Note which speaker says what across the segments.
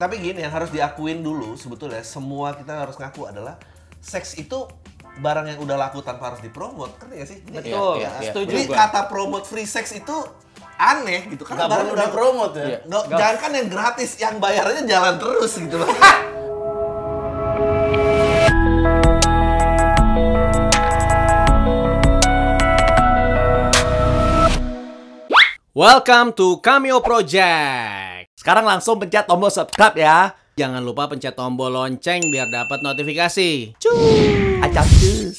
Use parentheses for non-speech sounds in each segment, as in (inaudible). Speaker 1: Tapi gini yang harus diakuin dulu sebetulnya semua kita harus ngaku adalah seks itu barang yang udah laku tanpa harus dipromot. Ngerti gak sih? Jadi-
Speaker 2: Betul,
Speaker 3: Iya, iya,
Speaker 2: setuju
Speaker 1: Jadi
Speaker 2: gua.
Speaker 1: kata promote free sex itu aneh gitu karena
Speaker 3: Nggak
Speaker 1: barang
Speaker 3: boleh
Speaker 1: udah
Speaker 3: udah promote ya.
Speaker 2: Iya.
Speaker 1: No,
Speaker 2: Nggak.
Speaker 1: jangan kan yang gratis, yang bayarnya jalan terus gitu
Speaker 3: (laughs)
Speaker 1: loh.
Speaker 2: Welcome to Cameo Project. Sekarang langsung pencet tombol subscribe ya. Jangan lupa pencet tombol lonceng biar dapat notifikasi.
Speaker 3: Acap cus.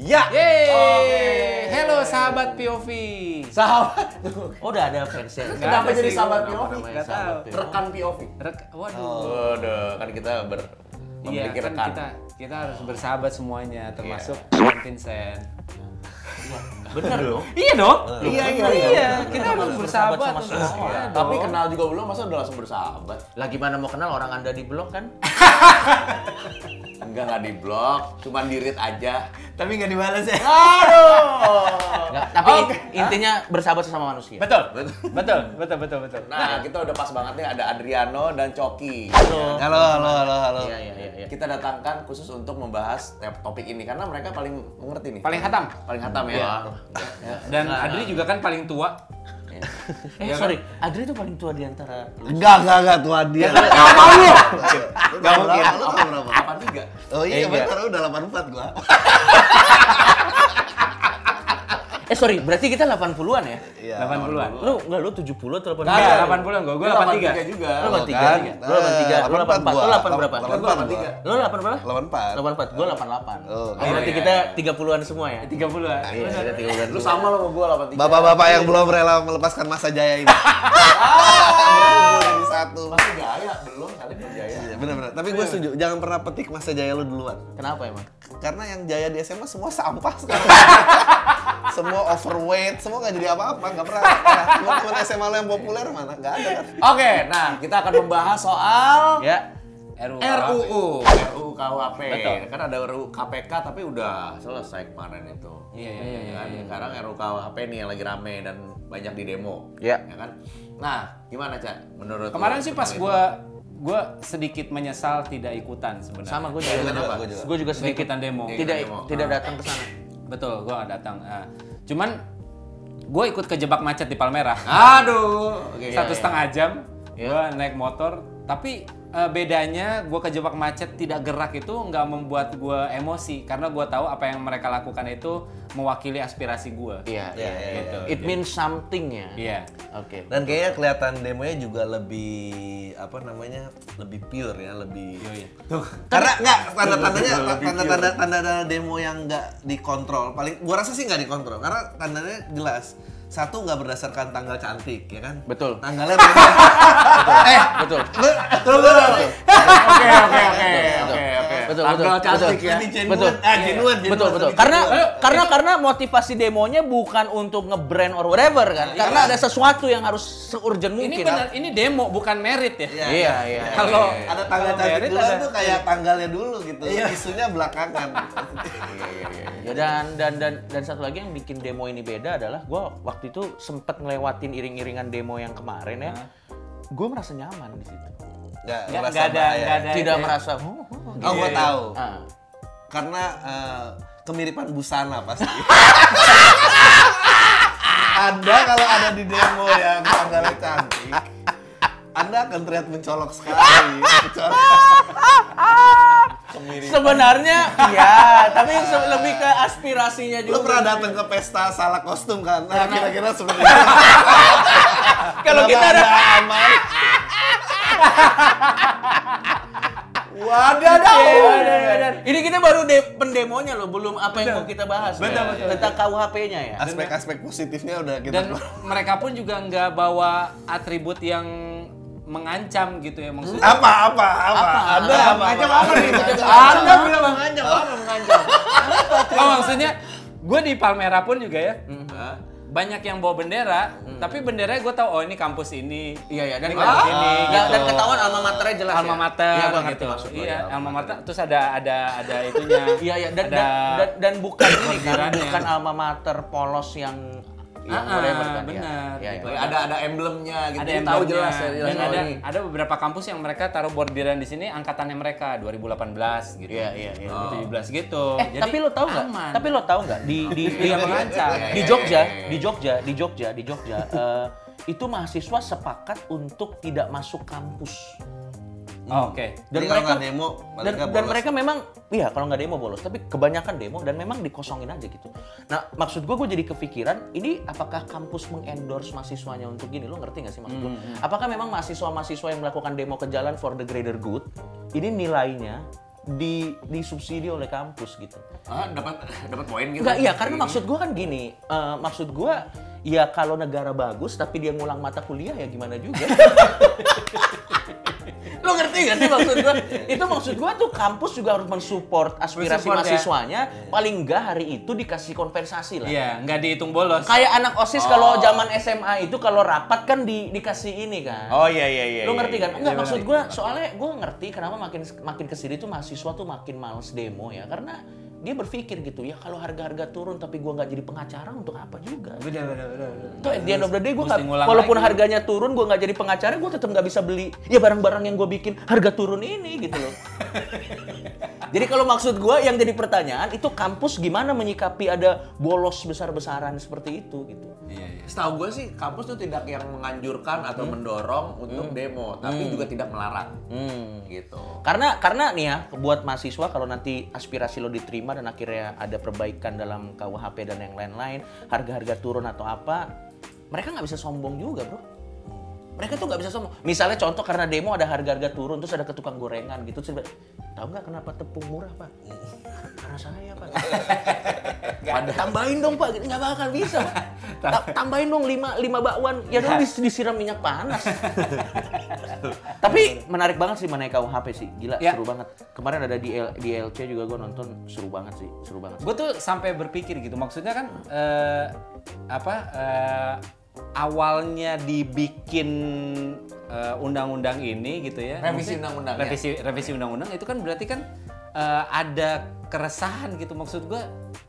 Speaker 3: Ya.
Speaker 2: Yeay.
Speaker 3: Oke.
Speaker 2: Halo sahabat POV.
Speaker 3: Sahabat.
Speaker 1: Oh, udah ada fansnya.
Speaker 3: Kenapa
Speaker 2: ada
Speaker 3: jadi
Speaker 2: sih,
Speaker 3: sahabat
Speaker 2: kenapa
Speaker 3: POV?
Speaker 2: namanya
Speaker 3: Nggak
Speaker 2: sahabat
Speaker 3: tahu.
Speaker 2: POV.
Speaker 3: Rekan POV.
Speaker 2: Rek- waduh.
Speaker 3: Waduh, kan kita ber
Speaker 2: Iya,
Speaker 3: Oh, memiliki
Speaker 2: kan
Speaker 3: rekan. Iya.
Speaker 2: kita kita harus bersahabat semuanya termasuk Vincent.
Speaker 3: Bener dong.
Speaker 2: Iya dong.
Speaker 3: Iya, iya,
Speaker 2: Iya,
Speaker 3: iya.
Speaker 2: kita
Speaker 3: Kita
Speaker 2: harus
Speaker 3: harus
Speaker 2: bersahabat
Speaker 3: bersahabat
Speaker 2: sama semua.
Speaker 3: Iya,
Speaker 2: dong.
Speaker 3: Tapi kenal juga belum, masa udah langsung bersahabat?
Speaker 4: Lah gimana mau kenal orang Anda di blog kan?
Speaker 3: Enggak, nggak di blog, cuman di read aja.
Speaker 1: Tapi nggak dibales ya.
Speaker 2: Oh.
Speaker 3: Aduh!
Speaker 4: Nggak, tapi
Speaker 3: Oke.
Speaker 4: intinya bersahabat sama manusia.
Speaker 2: Betul. Betul, betul, betul, betul.
Speaker 3: Nah, kita udah pas banget nih ada Adriano dan Coki.
Speaker 1: Halo, halo, halo, halo.
Speaker 4: Iya iya iya. iya.
Speaker 3: Kita datangkan khusus untuk membahas tep- topik ini karena mereka paling mengerti nih.
Speaker 2: Paling hatam.
Speaker 3: paling hatam ya. Ya.
Speaker 2: Dan Adri juga kan paling tua.
Speaker 4: Eh
Speaker 2: Iya kan?
Speaker 4: sorry, Adri tuh paling tua di antara
Speaker 1: Enggak, enggak, enggak tuan
Speaker 3: Ya,
Speaker 1: dia. Enggak mau lu. Enggak mau lu berapa?
Speaker 3: Apa tiga?
Speaker 1: Oh iya,
Speaker 4: Eh, iya.
Speaker 1: bentar udah 84 gua.
Speaker 4: Eh sorry, berarti kita 80-an ya?
Speaker 1: Iya.
Speaker 2: 80-an.
Speaker 4: Lu enggak lu 70 atau 80?
Speaker 2: Enggak, 80-an gua, gua
Speaker 3: Lu
Speaker 2: 83.
Speaker 3: juga.
Speaker 4: Lu
Speaker 1: Oh,
Speaker 4: 83,
Speaker 1: kan?
Speaker 4: lu 83, lu 84, lu 8
Speaker 1: Delapan
Speaker 4: berapa?
Speaker 3: Gua
Speaker 1: 84 gua.
Speaker 3: 83.
Speaker 4: Lu 8 berapa?
Speaker 1: 84.
Speaker 4: 84, gua 88.
Speaker 1: Oh,
Speaker 4: Oh,
Speaker 1: oke.
Speaker 4: berarti
Speaker 3: Iya,
Speaker 4: kita 30-an semua ya?
Speaker 2: 30-an.
Speaker 4: Iya, kita 30-an.
Speaker 3: Lu sama lo sama gua 83.
Speaker 1: Bapak-bapak yang belum rela melepaskan masa jaya ini. Berkumpul jadi satu.
Speaker 3: masih jaya ya, belum kali belum jaya.
Speaker 1: Iya, benar-benar. Tapi gue setuju, jangan pernah petik masa jaya lu duluan.
Speaker 4: Kenapa emang?
Speaker 1: Karena yang jaya di SMA semua sampah sekarang. (laughs) semua overweight, semua nggak jadi apa-apa, nggak pernah. Nah, lu temen SMA lu yang populer mana? Nggak ada kan?
Speaker 3: Oke, nah kita akan membahas soal
Speaker 4: Ya.
Speaker 2: RUU.
Speaker 3: RUU, RUU KUHP.
Speaker 4: Betul.
Speaker 3: Kan ada RUU KPK tapi udah selesai kemarin itu.
Speaker 2: Iya, iya, iya,
Speaker 3: kan? Sekarang RUU KUHP nih yang lagi rame dan banyak di demo.
Speaker 4: Iya.
Speaker 3: Ya kan? Nah, gimana, Cak? Menurut lu
Speaker 2: Kemarin sih pas
Speaker 3: tentang
Speaker 2: gua gua sedikit menyesal tidak ikutan sebenarnya.
Speaker 4: Sama gua
Speaker 3: itu?
Speaker 4: juga.
Speaker 3: Kenapa?
Speaker 1: gua juga.
Speaker 4: Gua juga
Speaker 2: Nggak
Speaker 4: sedikit
Speaker 2: ikutan demo.
Speaker 3: Iya.
Speaker 4: tidak
Speaker 3: demo.
Speaker 4: tidak
Speaker 3: Ah.
Speaker 4: datang ke sana.
Speaker 2: Betul, gua nggak datang. Ah. cuman gua ikut kejebak macet di Palmerah. (laughs)
Speaker 3: Aduh. Oke,
Speaker 2: Satu
Speaker 3: Ah, iya,
Speaker 2: setengah jam gua naik motor, tapi eh, bedanya gua kejebak macet tidak gerak itu nggak membuat gua emosi karena gua tahu apa yang mereka lakukan itu mewakili aspirasi gua.
Speaker 4: Iya,
Speaker 1: Iya,
Speaker 4: iya,
Speaker 1: iya,
Speaker 4: iya.
Speaker 2: iya.
Speaker 4: It means something ya.
Speaker 2: Iya.
Speaker 4: Oke.
Speaker 1: Dan kayaknya kelihatan demonya juga lebih apa namanya lebih pure ya lebih.
Speaker 2: Yoi.
Speaker 1: Karena nggak tanda tandanya tanda tanda tanda tanda demo yang nggak dikontrol. Paling gua rasa sih nggak dikontrol karena tandanya jelas. Satu nggak berdasarkan tanggal cantik ya kan?
Speaker 4: Betul.
Speaker 1: Tanggalnya betul. eh
Speaker 4: Betul.
Speaker 1: lu- lu- lu- lu-
Speaker 3: Oke, oke, oke.
Speaker 4: Betul,
Speaker 3: Oke, oke.
Speaker 4: betul,
Speaker 3: Tanggal
Speaker 4: betul,
Speaker 3: cantik
Speaker 4: betul.
Speaker 3: ya.
Speaker 1: Ini genuine,
Speaker 4: Betul.
Speaker 1: eh, genuine, genuine,
Speaker 4: betul betul
Speaker 1: tapi
Speaker 4: karena
Speaker 1: genuine.
Speaker 4: karena karena motivasi demonya bukan untuk nge-brand or whatever kan karena ada sesuatu yang harus seurgent
Speaker 2: Ini
Speaker 4: mungkin
Speaker 2: benar, ini demo bukan merit ya.
Speaker 1: Iya,
Speaker 4: iya iya
Speaker 2: Kalau
Speaker 1: ada tanggal
Speaker 2: kalau
Speaker 1: cantik
Speaker 2: merit
Speaker 1: duluan
Speaker 2: ada-
Speaker 1: tuh kayak tanggalnya dulu gitu. Isunya belakangan.
Speaker 4: ya dan dan dan dan satu lagi yang bikin demo ini beda adalah gua waktu itu sempet ngelewatin iring-iringan demo yang kemarin ya gue merasa nyaman di situ
Speaker 1: Nggak
Speaker 2: Nggak-
Speaker 1: merasa
Speaker 2: nggak ada-
Speaker 1: bahaya.
Speaker 2: nggak ada-
Speaker 4: tidak
Speaker 2: iya.
Speaker 4: merasa "Oh, oh, oh."
Speaker 1: Oh, gua tahu.
Speaker 4: Ah.
Speaker 1: Karena eh, kemiripan busana (laughs) pasti. Anda kalau ada di demo yang tanggalnya cantik, Anda akan terlihat mencolok sekali. Mencolok.
Speaker 4: sebenarnya iya tapi se- lebih ke aspirasinya
Speaker 1: Lu
Speaker 4: juga
Speaker 1: pernah datang ke pesta salah kostum kan? Nah, kira-kira seperti itu.
Speaker 4: kalau kita ada
Speaker 1: aman. Wadah dah.
Speaker 4: Iya, ini kita baru de- pendemonya loh belum apa yang mau kita bahas
Speaker 2: Betul,
Speaker 4: ya.
Speaker 2: betul,
Speaker 4: tentang KUHP-nya ya
Speaker 1: Aspek-aspek positifnya udah gitu. kita
Speaker 2: dan mereka pun juga nggak bawa atribut yang mengancam gitu ya maksudnya
Speaker 1: apa apa apa ada apa aja apa nih
Speaker 2: Anda bilang mengancam apa mengancam oh maksudnya gue di Palmera pun juga ya
Speaker 4: Hmm.
Speaker 3: Hah?
Speaker 2: banyak yang bawa bendera tapi benderanya gue tahu oh ini kampus ini
Speaker 4: Iya iya dan
Speaker 2: Ini
Speaker 4: kampus
Speaker 2: kampus ini,
Speaker 4: dan,
Speaker 2: gitu.
Speaker 4: dan ketahuan alma maternya jelas.
Speaker 2: alma mater
Speaker 4: Iya, gua ngerti
Speaker 2: gitu
Speaker 4: maksud lu,
Speaker 2: iya
Speaker 4: ya.
Speaker 2: alma mater terus ada ada ada itunya
Speaker 4: Iya iya dan,
Speaker 2: ada
Speaker 4: dan, dan, dan bukan ini kan
Speaker 2: Orderannya.
Speaker 4: bukan alma mater polos yang yang
Speaker 2: Ah,
Speaker 4: whatever kan. ya.
Speaker 2: benar. Gitu.
Speaker 4: Ya, ya.
Speaker 3: Kayak ada ada emblemnya gitu.
Speaker 2: ada
Speaker 3: Jadi
Speaker 2: yang
Speaker 3: tahu jelas ya. jelas
Speaker 2: dan
Speaker 3: oh,
Speaker 2: ada
Speaker 3: ini.
Speaker 2: ada beberapa kampus yang mereka taruh bordiran di sini angkatannya mereka 2018 gitu.
Speaker 4: Iya, iya, iya.
Speaker 2: 2017 gitu.
Speaker 4: Eh, tapi lo tahu nggak?
Speaker 2: aman.
Speaker 4: Tapi lo tahu nggak di di di,
Speaker 1: Iya,
Speaker 2: Tidak mengancam.
Speaker 4: di Jogja, di Jogja, di Jogja, di Jogja, eh, itu mahasiswa sepakat untuk tidak masuk kampus.
Speaker 2: Oh, oke.
Speaker 1: Dan
Speaker 4: Dan
Speaker 1: Jadi mereka
Speaker 4: mereka-
Speaker 1: demo,
Speaker 4: Dan,
Speaker 1: mereka
Speaker 4: dan
Speaker 1: bolos.
Speaker 4: mereka memang, iya kalau nggak demo bolos, tapi kebanyakan demo dan memang dikosongin aja gitu. Nah maksud gue, gue jadi kepikiran, ini apakah kampus mengendorse mahasiswanya untuk gini? Lo ngerti nggak sih maksud gue?
Speaker 1: Hmm,
Speaker 4: Apakah memang mahasiswa-mahasiswa yang melakukan demo ke jalan for the greater good, ini nilainya di disubsidi oleh kampus gitu?
Speaker 3: Ah, dapat dapat poin gitu.
Speaker 4: Enggak, iya karena maksud gua kan gini, eh, maksud gua ya kalau negara bagus tapi dia ngulang mata kuliah ya gimana
Speaker 2: (laughs)
Speaker 4: juga. Lo ngerti gak sih maksud gua? Itu maksud gua tuh kampus juga harus mensupport aspirasi
Speaker 2: Mensupport, ya.
Speaker 4: mahasiswanya, paling enggak hari itu dikasih kompensasi lah.
Speaker 2: (laughs) Iya, Oh. nggak dihitung bolos.
Speaker 4: Kayak anak OSIS kalau zaman SMA itu kalau rapat kan di, dikasih ini kan.
Speaker 3: Oh iya iya iya.
Speaker 4: Lo ngerti kan? Enggak
Speaker 2: Iya,
Speaker 4: maksud
Speaker 2: benar.
Speaker 4: gue, soalnya gue ngerti kenapa makin makin kesini tuh mahasiswa tuh makin males demo ya, karena dia berpikir gitu ya kalau harga-harga turun tapi gue nggak jadi pengacara untuk apa juga?
Speaker 2: Bener, bener, bener, bener.
Speaker 4: Tuh at the end of the day gue
Speaker 2: Mesti
Speaker 4: nggak,
Speaker 2: ngulang
Speaker 4: walaupun
Speaker 2: lagi.
Speaker 4: harganya turun gue nggak jadi pengacara, gue tetap nggak bisa beli ya barang-barang yang gue bikin harga turun ini gitu
Speaker 2: (laughs)
Speaker 4: loh. jadi kalau maksud gue yang jadi pertanyaan itu kampus gimana menyikapi ada bolos besar-besaran seperti itu gitu.
Speaker 2: Iya, iya.
Speaker 3: Setahu gue sih kampus tuh tidak yang menganjurkan atau
Speaker 2: Hmm.
Speaker 3: mendorong untuk demo, tapi juga tidak melarang.
Speaker 4: Hmm.
Speaker 3: Gitu.
Speaker 4: Karena karena nih ya buat mahasiswa kalau nanti aspirasi lo diterima dan akhirnya ada perbaikan dalam KUHP dan yang lain-lain, harga-harga turun atau apa, mereka nggak bisa sombong juga, Bro. Mereka tuh nggak bisa sombong. Misalnya contoh karena demo ada harga-harga turun terus ada ke tukang gorengan gitu terus dia bilang, tahu nggak kenapa tepung murah, Pak? (laughs) Karena saya, Pak. Padahal- tambahin dong, Pak. Nggak bakal
Speaker 3: (laughs)
Speaker 4: bisa. Pak. Ta- tambahin dong 5 lima bakwan. Ya
Speaker 3: Iya.
Speaker 4: dong dis- disiram minyak
Speaker 3: (laughs)
Speaker 4: panas. Tapi menarik banget sih mengenai KUHP sih. Gila,
Speaker 3: Iya.
Speaker 2: Ya.
Speaker 4: seru banget. Kemarin ada di, L- di LC juga gue nonton, seru banget sih, seru banget.
Speaker 3: (laughs)
Speaker 2: Gue tuh sampai berpikir gitu, maksudnya kan eh, apa eh, awalnya dibikin eh, undang-undang ini gitu ya? Maksudnya,
Speaker 3: Revisi undang-undangnya.
Speaker 2: Revisi revisi undang-undang itu kan berarti kan eh, ada keresahan gitu maksud gue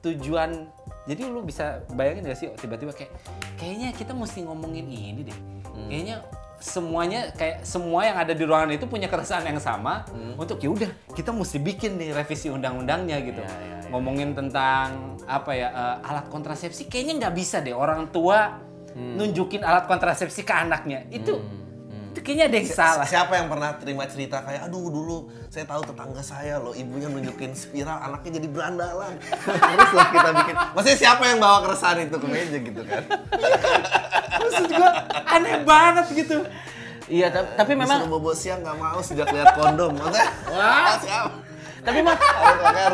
Speaker 2: tujuan. Jadi lu bisa bayangin gak sih oh, tiba-tiba kayak kayaknya kita mesti ngomongin ini deh. Kayaknya semuanya kayak semua yang ada di ruangan itu punya keresahan yang sama untuk ya udah kita mesti bikin nih revisi undang-undangnya gitu ngomongin tentang apa ya eh, alat kontrasepsi kayaknya nggak bisa deh orang tua nunjukin alat kontrasepsi ke anaknya itu itu kayaknya ada yang salah
Speaker 1: Siapa yang pernah terima cerita kayak aduh dulu saya tahu tetangga saya loh ibunya nunjukin spiral anaknya jadi berandalan. Terus lah kita bikin. Maksudnya siapa yang bawa keresahan itu ke meja gitu kan?
Speaker 2: maksud gua aneh banget gitu
Speaker 4: Iya, ta- tapi
Speaker 1: Memang
Speaker 4: memang
Speaker 1: bobo siang nggak mau sejak lihat kondom. Maksudnya ya. wah siapa?
Speaker 4: tapi
Speaker 3: (laughs)
Speaker 4: memang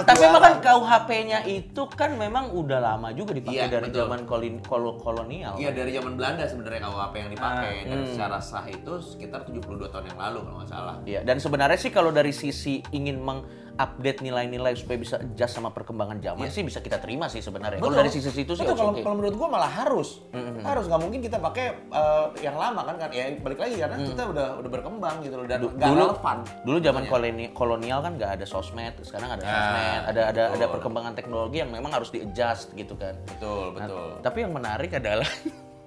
Speaker 4: tapi memang kan KUHP-nya itu kan memang udah lama juga dipakai
Speaker 3: Iya,
Speaker 4: dari
Speaker 3: betul.
Speaker 4: zaman kolin- kol- kolonial.
Speaker 3: Iya dari zaman Belanda sebenarnya KUHP yang dipakai
Speaker 5: Ah,
Speaker 3: dan
Speaker 5: hmm.
Speaker 3: secara sah itu sekitar 72 tahun yang lalu kalau nggak salah.
Speaker 4: Iya, dan sebenarnya sih kalau dari sisi ingin mengupdate nilai-nilai supaya bisa adjust sama perkembangan zaman sih bisa kita terima sih sebenarnya. Kalau dari sisi situ sih
Speaker 5: Betul,
Speaker 4: oke.
Speaker 5: kalau kalau menurut gua malah harus.
Speaker 3: Hmm.
Speaker 5: Harus nggak mungkin kita pakai eh, yang lama kan kan ya balik lagi karena
Speaker 3: Hmm.
Speaker 5: kita udah udah berkembang gitu loh dan
Speaker 4: Du-
Speaker 5: nggak
Speaker 4: dulu
Speaker 5: relevan.
Speaker 4: dulu zaman koloni- kolonial kan nggak ada sosmed, sekarang ada sosmed, ada ada ada perkembangan teknologi yang memang harus di-adjust gitu kan.
Speaker 3: Betul, betul.
Speaker 4: Tapi yang menarik adalah (laughs)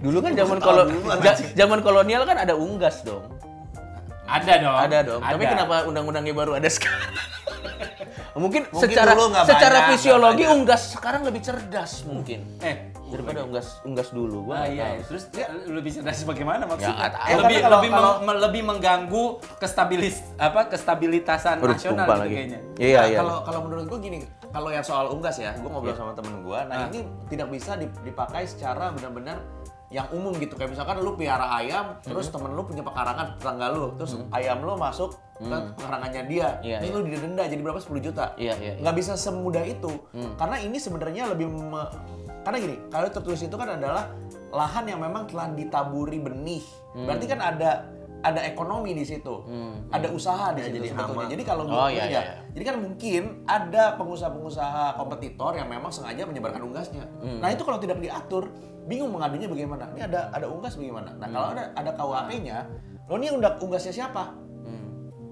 Speaker 4: dulu kan zaman kolon- ja- zaman kolonial kan ada unggas dong.
Speaker 2: Oh, ada dong
Speaker 4: Ada dong. Tapi kenapa undang-undangnya baru ada sekarang? (laughs) mungkin, secara
Speaker 1: dulu nggak
Speaker 4: secara
Speaker 1: banyak,
Speaker 4: fisiologi unggas sekarang lebih cerdas mungkin
Speaker 2: eh
Speaker 4: daripada unggas unggas dulu gua
Speaker 2: Wah
Speaker 4: nggak
Speaker 2: iya, terus lebih cerdas
Speaker 4: Ya,
Speaker 2: bagaimana
Speaker 4: nggak
Speaker 2: maksudnya? Eh,
Speaker 4: tahu.
Speaker 2: lebih
Speaker 5: Karena kalau-
Speaker 2: lebih, meng- me- lebih mengganggu kestabilis apa kestabilitasan
Speaker 4: tahu. Aduh,
Speaker 2: nasional
Speaker 4: tumpah
Speaker 2: gitu
Speaker 4: lagi.
Speaker 2: kayaknya.
Speaker 4: Iya
Speaker 5: Nah,
Speaker 4: iya.
Speaker 5: Kalau kalau menurut gua gini, kalau yang soal unggas ya, gua ngobrol sama temen gua. Nah, ini tidak bisa dip- dipakai secara benar-benar yang umum gitu. Kayak misalkan lu piara ayam,
Speaker 4: Mhm.
Speaker 5: terus temen lu punya pekarangan tetangga lu, terus ayam lu masuk ke pekarangannya dia.
Speaker 4: Iya,
Speaker 5: terus
Speaker 4: iya.
Speaker 5: lu didenda jadi berapa 10 juta.
Speaker 4: Iya, iya, Mhm. iya.
Speaker 5: Nggak bisa semudah itu. Karena ini sebenarnya lebih me- karena gini, kalau tertulis itu kan adalah lahan yang memang telah ditaburi benih. Berarti
Speaker 4: Mhm.
Speaker 5: kan ada ada ekonomi di situ, ada usaha di situ
Speaker 1: jadi
Speaker 5: sebetulnya.
Speaker 1: hama.
Speaker 5: Jadi kalau
Speaker 4: Oh,
Speaker 5: iya,
Speaker 4: iya, iya, iya.
Speaker 5: jadi kan mungkin ada pengusaha-pengusaha kompetitor yang memang sengaja menyebarkan unggasnya. Nah itu kalau tidak diatur, bingung mengadunya bagaimana. Ini ada ada unggas bagaimana? Nah kalau ada ada KUHP-nya, lo ini undang unggasnya siapa?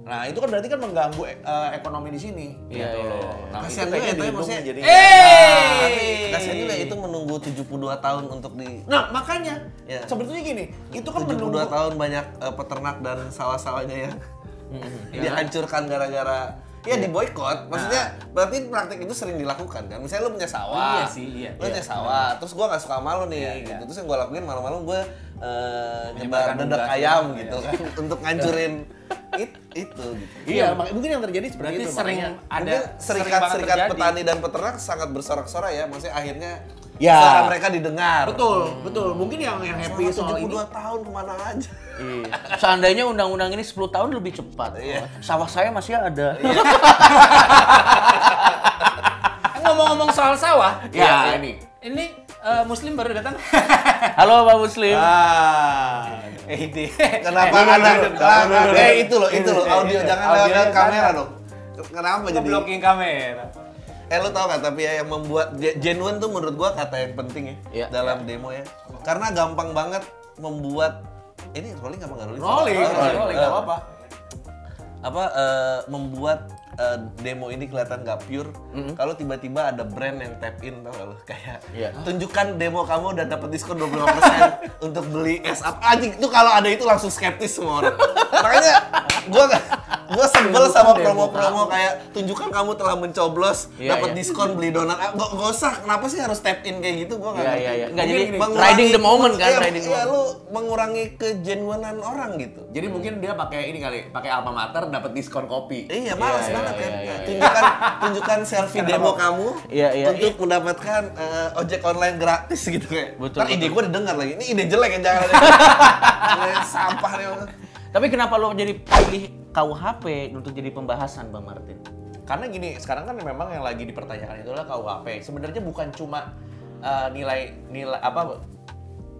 Speaker 3: Nah, itu kan berarti kan mengganggu eh, ekonomi di sini.
Speaker 4: Iya,
Speaker 3: gitu
Speaker 4: iya,
Speaker 3: loh.
Speaker 4: iya.
Speaker 3: Nah,
Speaker 1: Kasihan juga ya,
Speaker 3: itu kayaknya
Speaker 1: tapi
Speaker 3: dihitungnya
Speaker 1: maksudnya-
Speaker 3: jadi
Speaker 2: Eh.
Speaker 1: Kasian juga itu menunggu 72 tahun untuk di
Speaker 3: Nah, makanya
Speaker 1: Iya.
Speaker 3: sebetulnya gini, itu kan
Speaker 1: 72
Speaker 3: menunggu
Speaker 1: tahun banyak eh, peternak dan sawah-sawahnya yang (laughs)
Speaker 2: Iya.
Speaker 1: dihancurkan gara-gara ya di boykot. Maksudnya berarti praktik itu sering dilakukan kan. Misalnya lu punya sawah.
Speaker 2: Nah. Iya sih, iya.
Speaker 1: Lu punya sawah, terus gua nggak suka sama lu nih gitu. Terus yang gua lakuin malam-malam gua eh, nyebar
Speaker 2: Menyebarkan
Speaker 1: dedak
Speaker 2: unggas,
Speaker 1: ayam
Speaker 2: iya.
Speaker 1: gitu (laughs) kan
Speaker 2: (laughs)
Speaker 1: untuk ngancurin it- itu gitu.
Speaker 3: Iya, mak- mungkin yang terjadi seperti
Speaker 2: Berarti
Speaker 3: itu.
Speaker 2: sering
Speaker 3: makanya.
Speaker 2: ada
Speaker 1: Mungkin
Speaker 2: sering banget
Speaker 1: serikat-serikat
Speaker 2: terjadi.
Speaker 1: petani dan peternak sangat bersorak-sorak ya. Maksudnya akhirnya
Speaker 4: Ya.
Speaker 1: suara mereka didengar.
Speaker 3: Betul, betul. Mungkin yang yang happy
Speaker 1: Selama
Speaker 3: soal ini
Speaker 1: 72 tahun kemana aja.
Speaker 4: Iya. Seandainya undang-undang ini 10 tahun lebih cepat. Sawah saya masih ada.
Speaker 2: Ngomong-ngomong soal
Speaker 4: (laughs)
Speaker 2: sawah, Iya.
Speaker 3: Ya, ini.
Speaker 2: ini eh, Muslim baru datang.
Speaker 4: (laughs) Halo Pak Muslim.
Speaker 3: Ah.
Speaker 2: ini. Eh,
Speaker 1: Kenapa ada Eh itu loh, itu loh audio jangan
Speaker 2: Audio
Speaker 1: lewat
Speaker 2: jangan.
Speaker 1: kamera dong. Kenapa jadi?
Speaker 2: Blocking kamera.
Speaker 1: Eh lu tau gak tapi ya yang membuat ge- genuine tuh menurut gua kata yang penting ya
Speaker 4: Iya,
Speaker 1: dalam demo ya. Karena gampang banget membuat ini rolling apa nggak rolling?
Speaker 3: rolling,
Speaker 1: Oh,
Speaker 3: rolling, rolling,
Speaker 1: Eh,
Speaker 3: nggak apa-apa.
Speaker 1: apa eh, membuat eh, demo ini kelihatan nggak pure kalau tiba-tiba ada brand yang tap in tau gak lu kayak
Speaker 4: Iya.
Speaker 1: tunjukkan demo kamu dan dapat diskon
Speaker 4: (laughs)
Speaker 1: 25% untuk beli es up anjing itu kalau ada itu langsung skeptis semua orang makanya gua nggak gua sebel sama promo-promo kayak tunjukkan kamu telah mencoblos
Speaker 4: Iya,
Speaker 1: dapat
Speaker 4: iya.
Speaker 1: diskon beli donat Ah, nggak nggak usah kenapa sih harus tap in kayak gitu gua nggak
Speaker 4: Iya,
Speaker 1: ngerti.
Speaker 4: iya, iya. Nggak,
Speaker 1: Mungkin
Speaker 4: jadi
Speaker 1: gini,
Speaker 4: riding the moment kan,
Speaker 1: iya,
Speaker 4: riding the
Speaker 1: iya, lu mengurangi kejenuanan orang gitu
Speaker 3: Jadi mungkin dia pakai ini kali, pakai alma mater dapat diskon kopi.
Speaker 1: Iya, malas
Speaker 4: Iya,
Speaker 1: banget
Speaker 4: iya,
Speaker 1: kan.
Speaker 4: iya, iya.
Speaker 1: tunjukkan tunjukkan selfie demo kamu
Speaker 4: Iya, iya.
Speaker 1: untuk mendapatkan eh, ojek online gratis gitu kayak.
Speaker 4: Betul,
Speaker 1: Ntar ide
Speaker 4: betul.
Speaker 1: gue didengar lagi. Ini ide jelek ya
Speaker 4: (laughs)
Speaker 1: jangan. Ide sampah nih.
Speaker 4: Tapi kenapa lo jadi pilih KUHP untuk jadi pembahasan Bang Martin?
Speaker 3: Karena gini, sekarang kan memang yang lagi dipertanyakan itulah KUHP. Sebenarnya bukan cuma eh, nilai nilai apa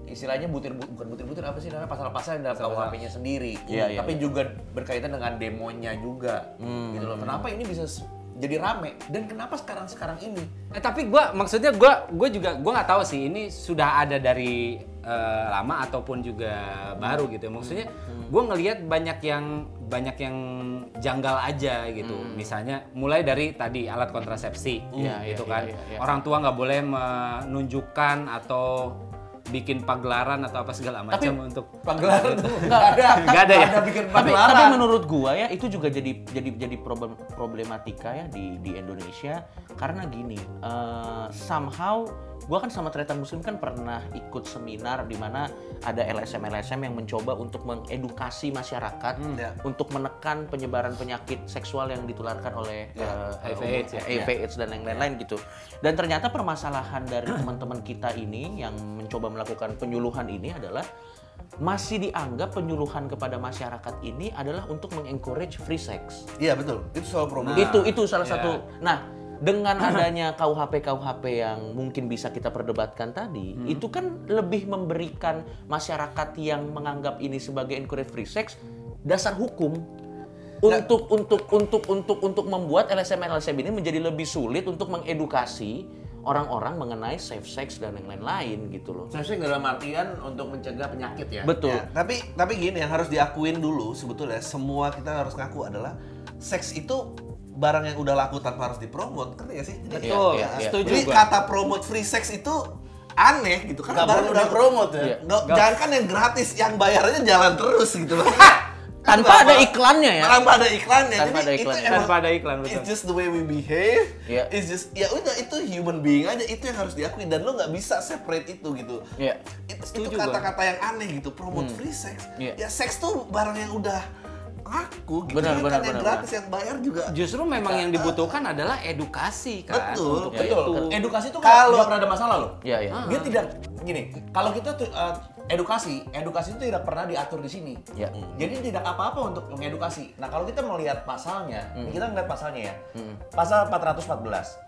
Speaker 3: istilahnya butir bu- bukan butir-butir apa sih namanya pasal-pasal yang dalam KUHP-nya sendiri.
Speaker 4: Iya, iya,
Speaker 3: tapi juga berkaitan dengan demonya juga. Gitu loh. Kenapa ini bisa s- jadi rame dan kenapa sekarang-sekarang ini?
Speaker 2: Eh, tapi gua maksudnya gua gua juga gua nggak tahu sih ini sudah ada dari eh, lama ataupun juga baru gitu. Maksudnya gua ngelihat banyak yang banyak yang janggal aja gitu. Misalnya mulai dari tadi alat kontrasepsi
Speaker 4: Iya, iya,
Speaker 2: gitu kan.
Speaker 4: iya, iya.
Speaker 2: Orang tua nggak boleh menunjukkan atau bikin pagelaran atau apa segala macam untuk
Speaker 3: Pagelaran tuh enggak
Speaker 4: kan
Speaker 3: ada.
Speaker 2: (laughs) Nggak ada ya?
Speaker 3: Nggak bikin
Speaker 4: Tapi,
Speaker 3: pagelaran.
Speaker 4: tapi menurut gua ya itu juga jadi jadi jadi problem problematika ya di di Indonesia karena gini eh, somehow gua kan sama Tretan Muslim kan pernah ikut seminar di mana ada LSM LSM yang mencoba untuk mengedukasi masyarakat
Speaker 2: Hmm.
Speaker 1: ya.
Speaker 4: untuk menekan penyebaran penyakit seksual yang ditularkan oleh eh,
Speaker 2: HIV,
Speaker 4: eh,
Speaker 2: AIDS ya.
Speaker 4: HIV, AIDS dan yang lain-lain gitu. Dan ternyata permasalahan dari teman-teman kita ini yang mencoba melakukan penyuluhan ini adalah masih dianggap penyuluhan kepada masyarakat ini adalah untuk mengencourage free sex.
Speaker 1: Iya betul. Itu soal problem.
Speaker 4: itu itu salah
Speaker 2: ya.
Speaker 4: satu. Nah, dengan adanya KUHP KUHP yang mungkin bisa kita perdebatkan tadi, itu kan lebih memberikan masyarakat yang menganggap ini sebagai encourage free sex dasar hukum untuk untuk untuk untuk untuk membuat LSM LSM ini menjadi lebih sulit untuk mengedukasi orang-orang mengenai safe sex dan yang lain-lain gitu loh.
Speaker 3: Seharusnya nggak dalam artian untuk mencegah penyakit ya.
Speaker 4: Betul.
Speaker 1: Ya, tapi tapi gini yang harus diakuin dulu sebetulnya semua kita harus ngaku adalah seks itu barang yang udah laku tanpa harus dipromot, ngerti gak sih? Jadi-
Speaker 2: Betul,
Speaker 4: iya, iya.
Speaker 2: setuju
Speaker 1: Jadi
Speaker 2: gua.
Speaker 1: kata promote free sex itu aneh gitu karena
Speaker 5: Nggak
Speaker 1: barang
Speaker 5: perlu
Speaker 1: udah
Speaker 5: dipromot ya.
Speaker 4: Iya.
Speaker 1: No, jangan kan yang gratis, yang bayarnya jalan terus gitu loh.
Speaker 4: (laughs) Tanpa ada iklannya ya.
Speaker 1: Tanpa ada iklannya.
Speaker 4: Tanpa
Speaker 1: Jadi
Speaker 4: ada
Speaker 1: itu
Speaker 4: iklannya.
Speaker 1: emang
Speaker 2: tanpa ada iklan betul.
Speaker 1: It's just the way we behave.
Speaker 4: Iya.
Speaker 1: It's just ya udah itu human being aja itu yang harus diakui dan lo nggak bisa separate itu gitu.
Speaker 4: Iya.
Speaker 1: It- itu
Speaker 2: Setuju gua.
Speaker 1: kata-kata yang aneh gitu. Promote free sex. Ya
Speaker 4: Iya.
Speaker 1: seks tuh barang yang udah laku gitu.
Speaker 4: Benar,
Speaker 1: Jangan
Speaker 4: benar,
Speaker 1: kan yang
Speaker 4: benar,
Speaker 1: gratis yang bayar juga.
Speaker 2: Justru memang yang dibutuhkan adalah edukasi kan
Speaker 1: Betul,
Speaker 2: untuk
Speaker 4: Ya,
Speaker 2: itu.
Speaker 3: Betul. Edukasi itu
Speaker 1: Kalau-
Speaker 3: kalau pernah ada masalah loh.
Speaker 4: Iya, iya.
Speaker 3: Dia tidak gini. Kalau kita tuh eh, edukasi, edukasi itu tidak pernah diatur di sini.
Speaker 4: Ya.
Speaker 3: Jadi tidak apa-apa untuk mengedukasi. Nah, kalau kita melihat pasalnya, kita melihat pasalnya ya. Pasal 414.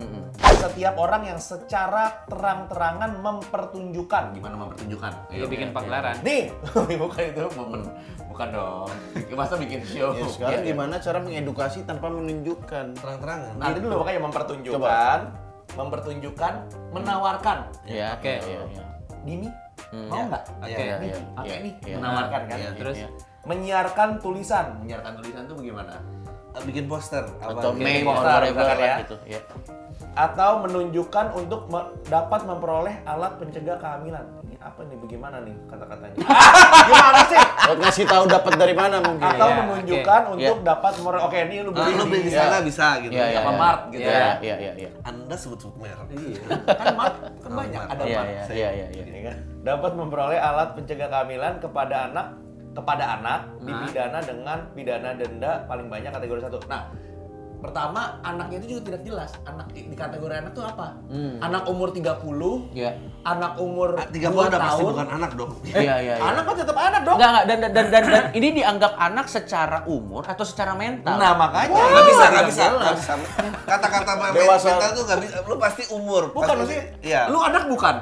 Speaker 3: Setiap orang yang secara terang-terangan mempertunjukkan gimana mempertunjukkan?
Speaker 2: Dia bikin pagelaran.
Speaker 3: Nih, (laughs) bukan itu, bukan, bukan dong. Iya, Masa bikin
Speaker 2: Iya,
Speaker 3: show?
Speaker 5: Ya, sekarang gimana cara mengedukasi tanpa menunjukkan?
Speaker 1: Terang-terangan.
Speaker 3: Nanti dulu makanya mempertunjukkan, mempertunjukkan, menawarkan.
Speaker 4: Iya,
Speaker 2: Oke.
Speaker 4: iya, iya.
Speaker 3: Gini, mau nggak?
Speaker 1: Iya,
Speaker 3: Nih,
Speaker 4: iya,
Speaker 3: pakai
Speaker 4: iya,
Speaker 3: nih,
Speaker 4: iya.
Speaker 3: menawarkan kan?
Speaker 2: Terus
Speaker 4: Iya.
Speaker 3: menyiarkan tulisan. Menyiarkan tulisan itu bagaimana?
Speaker 1: Ah, bikin poster apa? gitu.
Speaker 4: atau meme or
Speaker 3: Kirim
Speaker 4: whatever
Speaker 3: poster ya.
Speaker 4: lah gitu ya.
Speaker 3: Atau menunjukkan untuk me- dapat memperoleh alat pencegah kehamilan. Ini apa nih? Bagaimana nih (laughs) kata-katanya? Ah, Gimana sih?
Speaker 6: Buat ngasih tahu dapat dari mana mungkin.
Speaker 3: Atau
Speaker 2: Iya,
Speaker 3: menunjukkan untuk dapat memperoleh. Oke, ini Ah, lu beli.
Speaker 1: Nah, lu
Speaker 3: nih.
Speaker 1: beli di sana bisa gitu.
Speaker 4: Iya, iya,
Speaker 1: Apa
Speaker 4: iya.
Speaker 1: Mart gitu
Speaker 4: Iya,
Speaker 1: ya.
Speaker 4: iya, iya, iya.
Speaker 1: Anda sebut-sebut merek.
Speaker 3: kan mat kan banyak ada
Speaker 4: Iya,
Speaker 3: mat
Speaker 4: iya, iya, iya, iya.
Speaker 3: Ini kan, dapat memperoleh alat pencegah kehamilan kepada anak kepada anak
Speaker 1: Nah.
Speaker 3: dipidana dengan pidana denda paling banyak kategori satu nah
Speaker 5: Pertama, anaknya itu juga tidak jelas. Anak di di kategori anak tuh apa?
Speaker 1: Hmm.
Speaker 5: Anak umur 30,
Speaker 4: Iya.
Speaker 5: anak umur
Speaker 1: Ah,
Speaker 5: 30
Speaker 1: 30 udah pasti
Speaker 5: tahun.
Speaker 1: bukan anak dong.
Speaker 4: Iya, iya, iya.
Speaker 5: Anak kan tetap anak dong.
Speaker 4: Enggak, enggak. Dan, dan, dan, dan, dan ini dianggap anak secara umur atau secara mental?
Speaker 5: Nah, makanya
Speaker 1: Nggak bisa, nggak bisa, nggak bisa. Kata-kata
Speaker 6: Dewasa.
Speaker 1: dewasa itu nggak bisa. Lu pasti umur.
Speaker 5: Bukan
Speaker 1: pasti,
Speaker 5: maksudnya,
Speaker 1: Iya.
Speaker 5: lu anak bukan.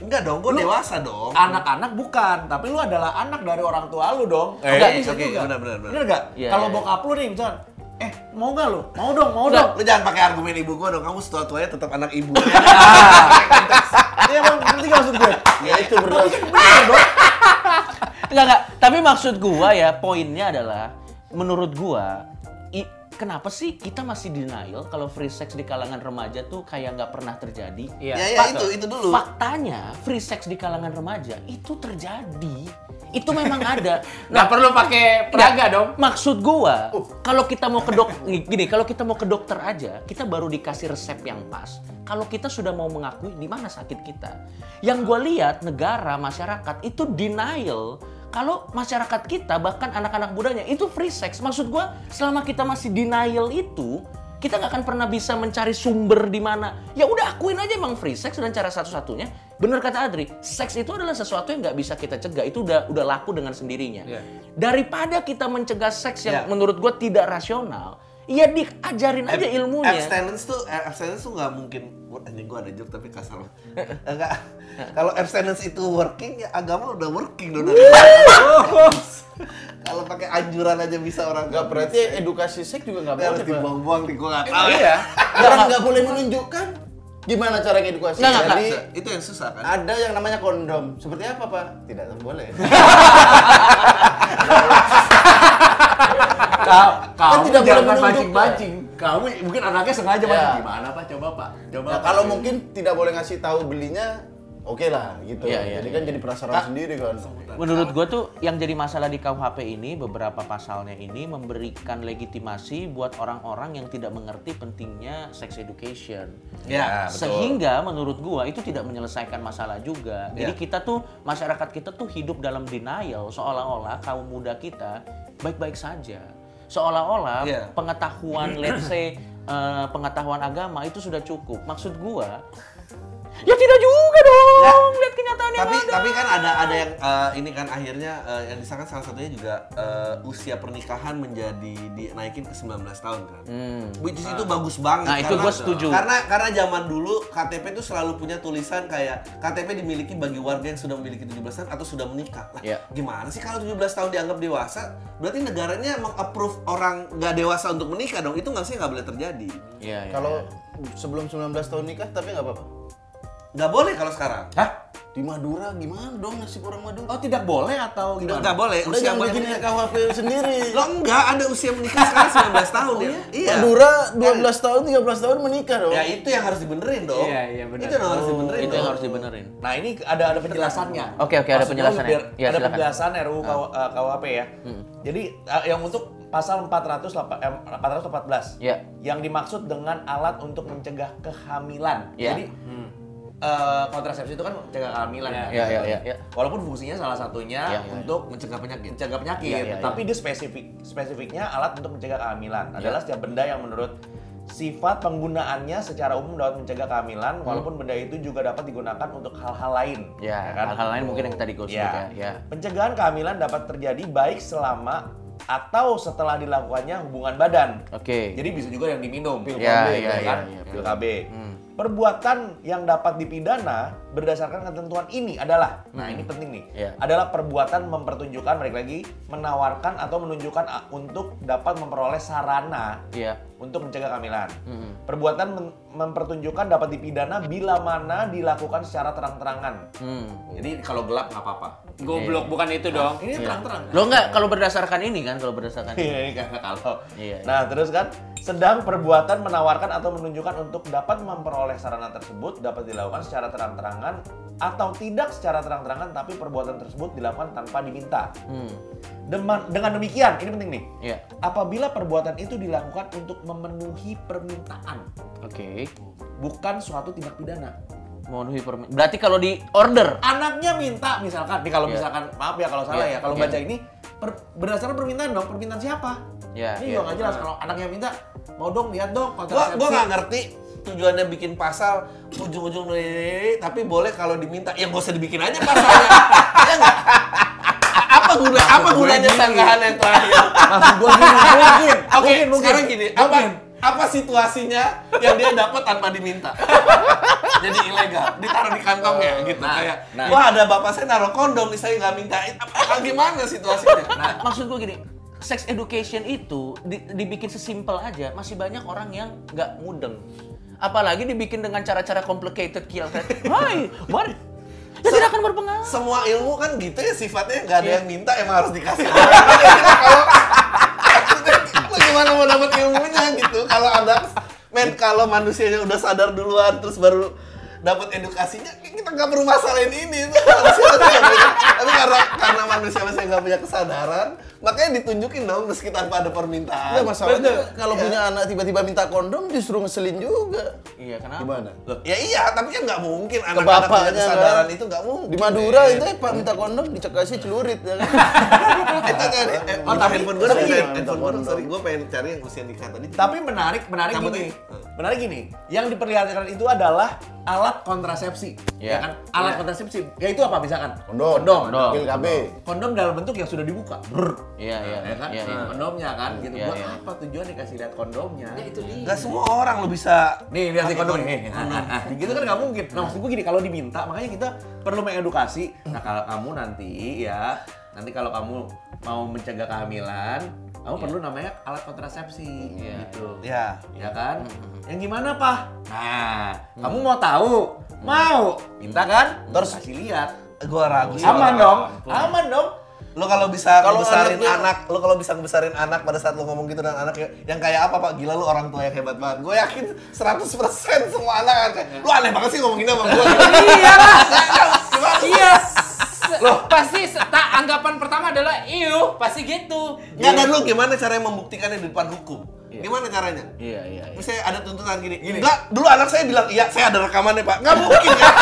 Speaker 1: enggak dong, gua dewasa dong.
Speaker 5: Anak-anak bukan, tapi lu adalah anak dari orang tua lu dong.
Speaker 1: Eh,
Speaker 5: Nggak
Speaker 1: oke, oke,
Speaker 5: juga.
Speaker 1: benar, benar, benar.
Speaker 5: Benar nggak?
Speaker 4: Iya,
Speaker 5: Kalau
Speaker 4: iya,
Speaker 5: bokap lu nih misalkan, eh mau nggak lu? Mau dong, mau
Speaker 1: Udah,
Speaker 5: dong.
Speaker 1: lu jangan pakai argumen ibu gua dong. Kamu setua-tuanya tetap anak ibu.
Speaker 5: Iya, emang ngerti nggak maksud gue?
Speaker 6: Ya itu berdasar.
Speaker 4: Enggak, enggak. Tapi maksud gua ya, poinnya adalah menurut gua i- kenapa sih kita masih denial kalau free sex di kalangan remaja tuh kayak nggak pernah terjadi?
Speaker 2: Iya.
Speaker 1: Ya, ya
Speaker 4: Pak,
Speaker 1: itu, itu dulu.
Speaker 4: Faktanya free sex di kalangan remaja itu terjadi. Itu memang ada.
Speaker 2: Nggak perlu pakai peraga dong.
Speaker 4: Maksud gua, kalau kita mau ke dok (laughs) gini, kalau kita mau ke dokter aja, kita baru dikasih resep yang pas. Kalau kita sudah mau mengakui di mana sakit kita. Yang gua lihat negara, masyarakat itu denial kalau masyarakat kita bahkan anak-anak mudanya itu free sex. Maksud gua, selama kita masih denial itu, kita nggak akan pernah bisa mencari sumber di mana. Ya udah akuin aja emang free sex dan cara satu-satunya. Bener kata Adri, seks itu adalah sesuatu yang nggak bisa kita cegah. Itu udah udah laku dengan sendirinya.
Speaker 2: Iya.
Speaker 4: Daripada kita mencegah seks yang menurut gue tidak rasional, ya diajarin aja ilmunya.
Speaker 1: Abstinence tuh eh, abstinence tuh nggak mungkin. Wah, Anjing gua ada joke tapi kasar. banget. Enggak. Kalau abstinence itu working, ya agama udah working dong. dari dulu. Kalau pakai anjuran aja bisa orang
Speaker 6: Enggak berarti edukasi seks juga enggak
Speaker 1: Tapi harus
Speaker 6: boleh. Pak.
Speaker 1: dibuang-buang nih, gua nggak tahu.
Speaker 6: Iya. Orang nggak boleh menunjukkan gimana cara edukasi.
Speaker 4: Nggak, nggak,
Speaker 6: Jadi
Speaker 1: Itu yang susah kan.
Speaker 6: ada yang namanya kondom. Seperti apa, Pak? Tidak
Speaker 5: (laughs)
Speaker 6: boleh.
Speaker 5: Kau, kau
Speaker 6: Kan tidak boleh
Speaker 5: jangan
Speaker 6: menunjukkan.
Speaker 5: mancing-mancing. Kamu mungkin anaknya sengaja
Speaker 6: Iya.
Speaker 5: mancing. Gimana pak? Coba pak. Coba.
Speaker 6: Nah,
Speaker 5: Pak.
Speaker 6: kalau mungkin tidak boleh ngasih tahu belinya, oke lah gitu.
Speaker 4: Iya, iya,
Speaker 6: jadi kan jadi penasaran sendiri kan.
Speaker 4: Menurut gue tuh yang jadi masalah di KUHP ini beberapa pasalnya ini memberikan legitimasi buat orang-orang yang tidak mengerti pentingnya sex education.
Speaker 1: Ya,
Speaker 4: Sehingga menurut gua itu tidak menyelesaikan masalah juga. Jadi
Speaker 1: Ya.
Speaker 4: kita tuh masyarakat kita tuh hidup dalam denial seolah-olah kaum muda kita baik-baik saja. Seolah-olah
Speaker 1: Iya.
Speaker 4: pengetahuan
Speaker 1: (clears throat)
Speaker 4: let's say eh, pengetahuan agama itu sudah cukup. Maksud gua ya tidak juga dong. Lihat kenyataan yang
Speaker 1: tapi
Speaker 4: ada.
Speaker 1: tapi kan ada ada yang eh, ini kan akhirnya eh, yang disahkan salah satunya juga eh, usia pernikahan menjadi dinaikin ke 19 tahun kan. Which is itu bagus banget.
Speaker 4: Nah, itu
Speaker 1: karena-
Speaker 4: gua setuju.
Speaker 1: Karena karena zaman dulu KTP itu selalu punya tulisan kayak KTP dimiliki bagi warga yang sudah memiliki 17 tahun atau sudah menikah. Lah,
Speaker 4: Iya.
Speaker 1: gimana sih kalau 17 tahun dianggap dewasa? Berarti negaranya meng-approve orang nggak dewasa untuk menikah dong. Itu nggak sih nggak boleh terjadi.
Speaker 4: Iya, iya,
Speaker 6: Kalau sebelum 19 tahun nikah tapi nggak apa-apa.
Speaker 1: Nggak boleh kalau sekarang.
Speaker 6: Di Madura gimana dong nasib orang Madura?
Speaker 5: Oh tidak boleh atau
Speaker 1: Nggak,
Speaker 5: gimana?
Speaker 1: nggak boleh.
Speaker 6: Udah jangan
Speaker 1: boleh
Speaker 6: bikin
Speaker 1: menikah.
Speaker 6: KHP
Speaker 5: (laughs)
Speaker 6: sendiri.
Speaker 1: Lo enggak, ada usia menikah sekarang 19 tahun
Speaker 4: Oh,
Speaker 1: ya? Iya.
Speaker 6: Madura 12 tahun, 13 tahun menikah dong.
Speaker 5: Iya,
Speaker 1: Ya itu yang harus dibenerin dong.
Speaker 2: Iya, iya, benar.
Speaker 1: Itu yang harus dibenerin
Speaker 4: itu
Speaker 1: dong.
Speaker 4: yang harus dibenerin.
Speaker 5: Nah ini ada ada penjelasannya.
Speaker 4: Oke, oke, ada
Speaker 5: Maksud gua
Speaker 4: penjelasannya.
Speaker 5: biar- ada
Speaker 4: Ya, silakan. Ah.
Speaker 5: penjelasan RUU KW- eh, KUHP ya. Jadi eh, yang untuk pasal 400, lapa- eh, 414.
Speaker 4: Iya.
Speaker 5: Yang dimaksud dengan alat untuk mencegah kehamilan.
Speaker 4: Iya.
Speaker 5: Jadi eh, kontrasepsi itu kan mencegah kehamilan ya.
Speaker 4: Iya, iya, iya, iya.
Speaker 5: Walaupun fungsinya salah satunya
Speaker 4: Iya, iya.
Speaker 5: untuk mencegah penyakit, mencegah penyakit.
Speaker 4: Iya, iya, iya.
Speaker 5: Tapi dia spesifik spesifiknya alat untuk mencegah kehamilan adalah setiap benda yang menurut sifat penggunaannya secara umum dapat mencegah
Speaker 4: Hmm.
Speaker 5: kehamilan walaupun benda itu juga dapat digunakan untuk hal-hal lain
Speaker 4: Ya,
Speaker 5: kan?
Speaker 4: hal-hal lain mungkin yang tadi gue sebut
Speaker 5: Ya.
Speaker 4: ya. ya.
Speaker 5: Pencegahan kehamilan dapat terjadi baik selama atau setelah dilakukannya hubungan badan.
Speaker 4: Oke.
Speaker 5: Jadi bisa juga yang diminum.
Speaker 4: Ya,
Speaker 5: KB,
Speaker 4: ya,
Speaker 5: kan?
Speaker 4: ya, ya.
Speaker 5: Pil KB.
Speaker 3: Perbuatan yang dapat dipidana berdasarkan ketentuan ini adalah, nah ini penting nih,
Speaker 4: Iya.
Speaker 3: adalah perbuatan mempertunjukkan, balik lagi, menawarkan atau menunjukkan ah, untuk dapat memperoleh sarana
Speaker 4: Iya.
Speaker 3: untuk mencegah kehamilan.
Speaker 4: Hmm.
Speaker 3: Perbuatan men- mempertunjukkan dapat dipidana bila mana dilakukan secara terang-terangan.
Speaker 4: hmm. Oh.
Speaker 5: Jadi kalau gelap nggak apa-apa.
Speaker 2: Goblok bukan itu dong.
Speaker 4: Iya.
Speaker 5: Ini terang-terang.
Speaker 4: Lo nggak kalau berdasarkan ini kan kalau berdasarkan
Speaker 3: Iya, ini karena kalau.
Speaker 4: Iya, iya.
Speaker 3: Nah, terus kan sedang perbuatan menawarkan atau menunjukkan untuk dapat memperoleh sarana tersebut dapat dilakukan secara terang-terangan atau tidak secara terang-terangan tapi perbuatan tersebut dilakukan tanpa diminta.
Speaker 4: Hmm.
Speaker 3: Dema- dengan demikian, ini penting nih.
Speaker 4: Iya.
Speaker 3: Apabila perbuatan itu dilakukan untuk memenuhi permintaan,
Speaker 4: Oke.
Speaker 3: bukan suatu tindak pidana.
Speaker 4: Memenuhi permin. Berarti kalau di order.
Speaker 3: Anaknya minta misalkan, nih kalau
Speaker 4: Iya.
Speaker 3: misalkan maaf ya kalau salah
Speaker 4: Iya,
Speaker 3: ya, kalau
Speaker 4: iya.
Speaker 3: baca ini per- berdasarkan permintaan dong, permintaan siapa?
Speaker 4: Iya,
Speaker 3: ini
Speaker 4: iya.
Speaker 3: juga nggak jelas kalau anaknya minta mau dong lihat dong
Speaker 1: Gua
Speaker 3: kontrasepsi.
Speaker 1: gua nggak
Speaker 3: (laughs)
Speaker 1: ngerti tujuannya bikin pasal ujung-ujung dari- tapi boleh kalau diminta ya gak usah dibikin aja pasalnya. ya nggak? A- apa
Speaker 3: (laughs)
Speaker 1: guna apa gunanya sanggahan yang terakhir?
Speaker 3: Maksud gua gini, mungkin.
Speaker 1: Oke,
Speaker 3: mungkin, mungkin.
Speaker 1: sekarang gini, apa apa situasinya yang dia dapat tanpa
Speaker 3: (laughs)
Speaker 1: diminta? Jadi ilegal, ditaruh di kantongnya
Speaker 3: Oh,
Speaker 1: gitu
Speaker 3: nah,
Speaker 1: kayak. Wah ada bapak saya naruh kondom nih saya nggak mintain. Apa, apa- gimana situasinya? Nah,
Speaker 4: Maksud gue gini, sex education itu di- dibikin sesimpel aja. Masih banyak orang yang nggak mudeng. Apalagi dibikin dengan cara-cara complicated kill. Kayak, Hai, mari. Ya tidak akan berpengaruh.
Speaker 1: semua ilmu kan gitu ya sifatnya nggak ada
Speaker 6: Iya.
Speaker 1: yang minta emang harus dikasih (laughs) orang. Maksudnya kalau lu gimana mau dapat ilmunya gitu kalau ada men kalau manusianya udah sadar duluan terus baru dapat edukasinya kita nggak perlu masalahin ini Itu manusia masih nggak punya- tapi karena karena manusia masih nggak punya kesadaran makanya ditunjukin dong meski tanpa ada permintaan
Speaker 6: Enggak masalahnya
Speaker 1: Bener.
Speaker 6: kalau
Speaker 1: Iya.
Speaker 6: punya anak tiba-tiba minta kondom justru ngeselin juga.
Speaker 4: Iya, kenapa?
Speaker 6: Gimana?
Speaker 1: ya iya tapi kan nggak mungkin anak-anak punya
Speaker 6: bapaknya
Speaker 1: kesadaran
Speaker 6: kan.
Speaker 1: itu nggak mungkin
Speaker 6: Di Madura
Speaker 1: men.
Speaker 6: itu ya, Pak minta kondom dicekasi celurit ya (laughs) kan.
Speaker 1: Itu tadi, eh, oh, tapi handphone gue sorry, handphone gue sorry, gue pengen cari yang usia nikah tadi.
Speaker 3: Tapi menarik, menarik
Speaker 1: Yang
Speaker 3: gini.
Speaker 1: penting-
Speaker 3: Menarik gini, yang diperlihatkan itu adalah alat kontrasepsi.
Speaker 4: Iya.
Speaker 3: Ya kan? Alat kontrasepsi, yaitu apa misalkan?
Speaker 6: Kondom.
Speaker 3: Kondom.
Speaker 4: Kondom.
Speaker 6: Pil KB.
Speaker 3: Kondom dalam bentuk yang sudah dibuka. Brr.
Speaker 4: Iya, iya.
Speaker 3: Ya kan?
Speaker 4: Iya, iya.
Speaker 3: Kondomnya kan gitu.
Speaker 4: Iya,
Speaker 3: Buat
Speaker 4: iya.
Speaker 3: apa tujuan dikasih lihat kondomnya?
Speaker 1: Gak semua orang lo bisa
Speaker 3: Nih lihat di kondom nih. Nah, gitu kan nggak mungkin. Nah maksud gue gini, kalau diminta makanya kita perlu mengedukasi. Nah kalau kamu nanti ya, nanti kalau kamu mau mencegah kehamilan, kamu
Speaker 5: Iya.
Speaker 3: perlu namanya alat kontrasepsi gitu.
Speaker 1: Ya.
Speaker 3: Ya kan? Yang gimana pak? Nah, kamu mau tahu? Mau? Minta kan? Terus kasih lihat.
Speaker 1: Gue ragu sih.
Speaker 3: Aman dong, aman dong.
Speaker 1: Lo kalau bisa
Speaker 6: Kalau
Speaker 1: ngebesarin
Speaker 6: anaknya-
Speaker 1: anak, lo kalau bisa ngebesarin anak pada saat lo ngomong gitu dan anak kayak- yang kayak apa pak? Gila lo orang tua yang hebat banget. Gue yakin 100% semua anak akan kayak, lo aneh banget sih ngomongin sama gue.
Speaker 2: Iya lah.
Speaker 1: Gimana?
Speaker 2: Iya. Loh, pasti se- tak anggapan pertama adalah iu, pasti gitu.
Speaker 1: Nggak, dan lo gimana caranya membuktikannya di depan hukum? Gimana caranya?
Speaker 4: Iya, iya. iya.
Speaker 1: Misalnya ada tuntutan gini, enggak, dulu anak saya bilang, iya saya ada rekamannya pak, nggak mungkin (laughs) kan?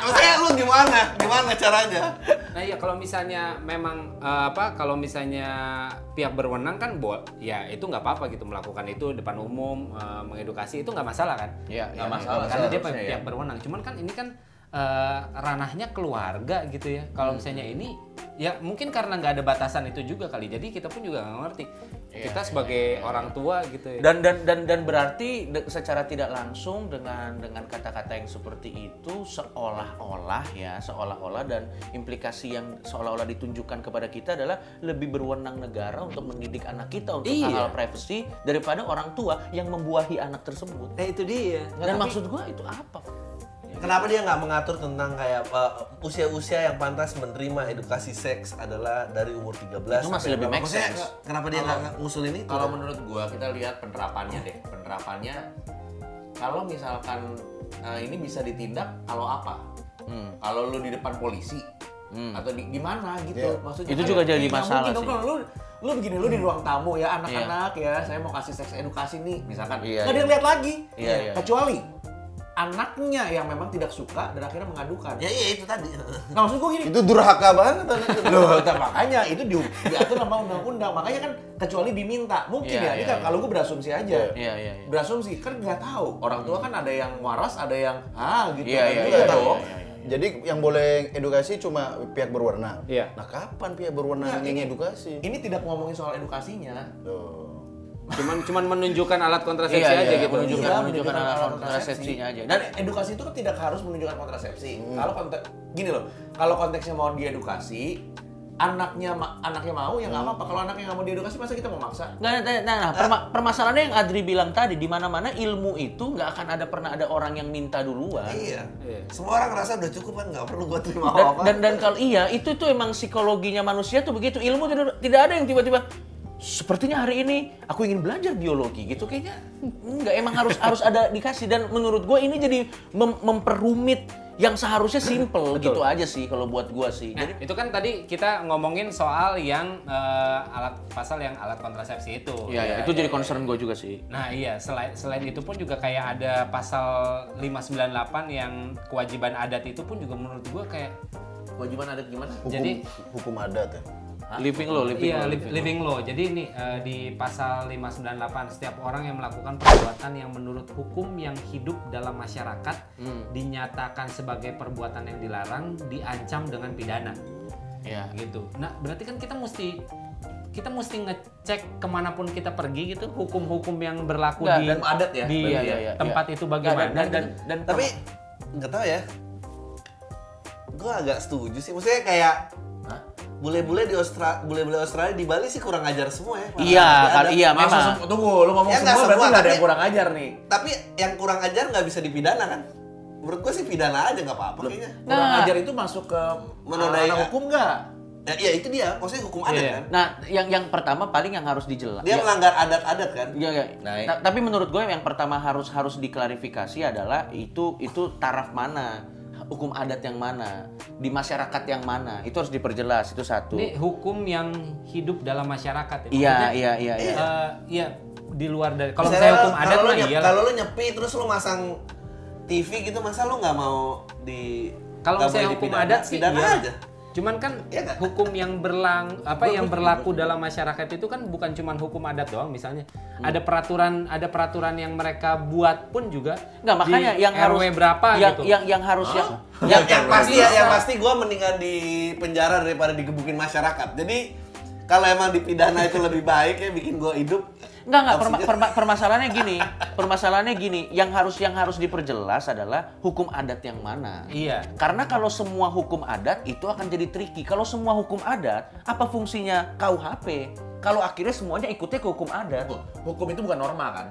Speaker 1: Maksudnya lu gimana? Gimana caranya?
Speaker 2: Nah iya kalau misalnya memang eh, apa kalau misalnya pihak berwenang kan bo- ya itu nggak apa-apa gitu melakukan itu depan umum eh, mengedukasi itu nggak masalah kan?
Speaker 4: Iya,
Speaker 2: Nggak
Speaker 4: iya,
Speaker 2: masalah
Speaker 4: iya,
Speaker 2: karena dia
Speaker 3: harusnya,
Speaker 2: pihak berwenang. Cuman kan ini kan eh, ranahnya keluarga gitu ya. Kalau misalnya ini ya mungkin karena nggak ada batasan itu juga kali. Jadi kita pun juga nggak ngerti. kita sebagai orang tua gitu ya.
Speaker 4: dan dan dan dan berarti de- secara tidak langsung dengan dengan kata-kata yang seperti itu seolah-olah ya seolah-olah dan implikasi yang seolah-olah ditunjukkan kepada kita adalah lebih berwenang negara untuk mendidik anak kita untuk
Speaker 2: Iya.
Speaker 4: hal-hal privacy daripada orang tua yang membuahi anak tersebut
Speaker 2: Nah itu dia.
Speaker 4: dan maksud gua itu apa
Speaker 1: Kenapa dia nggak mengatur tentang kayak uh, usia-usia yang pantas menerima edukasi seks adalah dari umur 13
Speaker 4: Itu masih
Speaker 1: sampai
Speaker 4: lebih
Speaker 1: berapa?
Speaker 4: make
Speaker 1: Maksudnya,
Speaker 4: sense. Oh.
Speaker 1: Kenapa dia nggak ngusulin itu?
Speaker 5: Kalau menurut gua kita lihat penerapannya deh. Penerapannya kalau misalkan eh, ini bisa ditindak kalau apa?
Speaker 4: Hmm,
Speaker 5: Kalau lu di depan polisi atau di gimana gitu maksudnya
Speaker 4: Iya. Itu
Speaker 5: kan
Speaker 4: juga
Speaker 5: ya,
Speaker 4: jadi
Speaker 5: nggak
Speaker 4: masalah
Speaker 5: mungkin dong
Speaker 4: sih. Hmm.
Speaker 5: kalau lu lu begini lu di ruang tamu ya anak-anak ya saya mau kasih seks edukasi nih misalkan nggak
Speaker 4: Iya, iya.
Speaker 5: ada yang lihat lagi
Speaker 4: Iya, iya.
Speaker 5: kecuali anaknya yang memang tidak suka dan akhirnya mengadukan
Speaker 1: Ya iya itu tadi.
Speaker 5: nah maksud gua gini
Speaker 6: Itu durhaka banget anak itu.
Speaker 4: kan
Speaker 5: Loh, tak, makanya itu di, diatur sama undang-undang. Makanya kan kecuali diminta. Mungkin
Speaker 4: Iya,
Speaker 5: ya, ini
Speaker 4: iya,
Speaker 5: kan
Speaker 4: iya.
Speaker 5: kalau gue berasumsi aja.
Speaker 4: Iya, iya, iya.
Speaker 5: Berasumsi kan nggak tahu. Orang tua kan ada yang waras, ada yang ah gitu.
Speaker 4: Iya,
Speaker 5: Kan
Speaker 4: iya,
Speaker 5: juga
Speaker 4: iya,
Speaker 5: dong.
Speaker 4: iya, iya.
Speaker 6: Jadi yang boleh edukasi cuma pihak berwenang.
Speaker 2: Iya.
Speaker 6: Iya, Nah kapan pihak berwenang ini edukasi?
Speaker 5: Ini tidak ngomongin soal edukasinya.
Speaker 6: Loh.
Speaker 2: Cuman cuman menunjukkan alat kontrasepsi
Speaker 4: Iya,
Speaker 2: aja
Speaker 4: iya,
Speaker 2: gitu.
Speaker 4: menunjukkan-
Speaker 2: Iya.
Speaker 4: menunjukkan alat kontrasepsinya aja.
Speaker 3: Dan edukasi itu kan tidak harus menunjukkan kontrasepsi. Kalau konteks gini loh, kalau konteksnya mau diedukasi, anaknya ma- anaknya mau ya nggak apa-apa. Kalau anaknya nggak mau diedukasi masa kita mau maksa?
Speaker 4: Nggak, nah, nah, nah, perma- permasalahannya yang Adri bilang tadi, di mana mana ilmu itu nggak akan ada pernah ada orang yang minta duluan.
Speaker 1: Iya.
Speaker 2: Iya.
Speaker 1: Semua orang ngerasa udah cukup kan nggak perlu gua terima
Speaker 4: Dan,
Speaker 1: apa-apa.
Speaker 4: dan, dan kalau iya, itu tuh emang psikologinya manusia tuh begitu. Ilmu tidak, tidak ada yang tiba-tiba, sepertinya hari ini aku ingin belajar biologi gitu. Kayaknya nggak, emang harus harus ada dikasih. Dan menurut gue ini jadi mem- memperumit yang seharusnya simple gitu aja sih kalau buat gue sih.
Speaker 2: Nah, itu kan tadi kita ngomongin soal yang eh, alat pasal yang alat kontrasepsi itu.
Speaker 4: Iya, ya, itu jadi concern gue juga sih.
Speaker 2: Nah iya, selain, selain itu pun juga kayak ada pasal 598 yang kewajiban adat itu pun juga menurut gua kayak
Speaker 3: Kewajiban adat gimana?
Speaker 6: Hukum,
Speaker 2: Jadi-
Speaker 6: hukum adat ya.
Speaker 4: Living lo, living
Speaker 2: iya,
Speaker 4: lo.
Speaker 2: li- living law. Jadi ini eh, di pasal 598 setiap orang yang melakukan perbuatan yang menurut hukum yang hidup dalam masyarakat
Speaker 4: Hmm.
Speaker 2: dinyatakan sebagai perbuatan yang dilarang diancam dengan pidana.
Speaker 4: Iya.
Speaker 2: gitu. Nah, berarti kan kita mesti kita mesti ngecek kemanapun kita pergi gitu hukum-hukum yang berlaku
Speaker 4: Nggak,
Speaker 2: di
Speaker 4: dan adat ya?
Speaker 2: di eh,
Speaker 4: Iya, iya, iya,
Speaker 2: tempat itu bagaimana
Speaker 4: dan, dan,
Speaker 2: gitu.
Speaker 4: dan,
Speaker 1: Tapi nggak tahu ya. Gua agak setuju sih. Maksudnya kayak bule-bule di Australia, bule-bule Australia di Bali sih kurang ajar semua ya. Malah
Speaker 4: Iya,
Speaker 1: nggak
Speaker 4: kal-
Speaker 1: ada.
Speaker 4: iya
Speaker 3: Masa
Speaker 4: memang.
Speaker 3: sem- tunggu, lu ngomong
Speaker 1: Ya, nggak
Speaker 3: semua
Speaker 1: semua,
Speaker 3: berarti nggak ada
Speaker 1: tapi-
Speaker 3: yang kurang ajar nih.
Speaker 1: Tapi yang kurang ajar nggak bisa dipidana kan? Menurut gua sih pidana aja nggak apa-apa kayaknya.
Speaker 3: Kurang
Speaker 4: Nah.
Speaker 3: ajar itu masuk ke
Speaker 1: Menodai-
Speaker 3: ranah hukum nggak?
Speaker 1: Ya, ya itu dia, maksudnya hukum adat
Speaker 2: Iya.
Speaker 1: kan.
Speaker 4: Nah, yang yang pertama paling yang harus dijelas.
Speaker 1: Dia melanggar adat-adat kan.
Speaker 4: Iya, iya. Ta- tapi menurut gue yang pertama harus harus diklarifikasi adalah itu itu taraf mana, hukum adat yang mana, di masyarakat yang mana, itu harus diperjelas itu satu.
Speaker 2: Ini hukum yang hidup dalam masyarakat
Speaker 4: Iya,
Speaker 2: ya. Maksudnya,
Speaker 4: iya, iya, iya.
Speaker 2: eh, iya, di luar dari kalau saya hukum
Speaker 1: kalau
Speaker 2: adat
Speaker 1: lu
Speaker 2: mah iya.
Speaker 1: nyep-
Speaker 2: iyalah.
Speaker 1: Kalau lu nyepi terus lu masang TV gitu masa lu nggak mau di
Speaker 2: Kalau
Speaker 1: nggak
Speaker 2: saya
Speaker 1: boleh
Speaker 2: hukum
Speaker 1: dipidana?
Speaker 2: adat sih
Speaker 1: pidana
Speaker 2: iya.
Speaker 1: aja.
Speaker 2: Cuman kan
Speaker 1: Iya nggak?
Speaker 2: hukum yang berlang apa yang berlaku dalam masyarakat itu kan bukan cuman hukum adat doang misalnya.
Speaker 1: Hmm.
Speaker 2: Ada peraturan ada peraturan yang mereka buat pun juga
Speaker 4: Enggak, makanya
Speaker 2: di
Speaker 4: yang
Speaker 2: RW
Speaker 4: harus
Speaker 2: berapa
Speaker 4: yang,
Speaker 2: gitu.
Speaker 4: yang yang harus yang
Speaker 1: (laughs) yang, yang pasti ya, yang pasti gue mendingan di penjara daripada digebukin masyarakat. Jadi kalau emang dipidana itu lebih baik ya bikin gue hidup.
Speaker 4: Enggak, enggak.
Speaker 1: Opsinya-
Speaker 4: Perma- perma- permasalahannya gini. Permasalahannya gini. Yang harus yang harus diperjelas adalah hukum adat yang mana.
Speaker 2: Iya.
Speaker 4: Karena kalau semua hukum adat itu akan jadi tricky. Kalau semua hukum adat, apa fungsinya KUHP? Kalau akhirnya semuanya ikutnya ke hukum adat.
Speaker 3: Hukum itu bukan norma kan?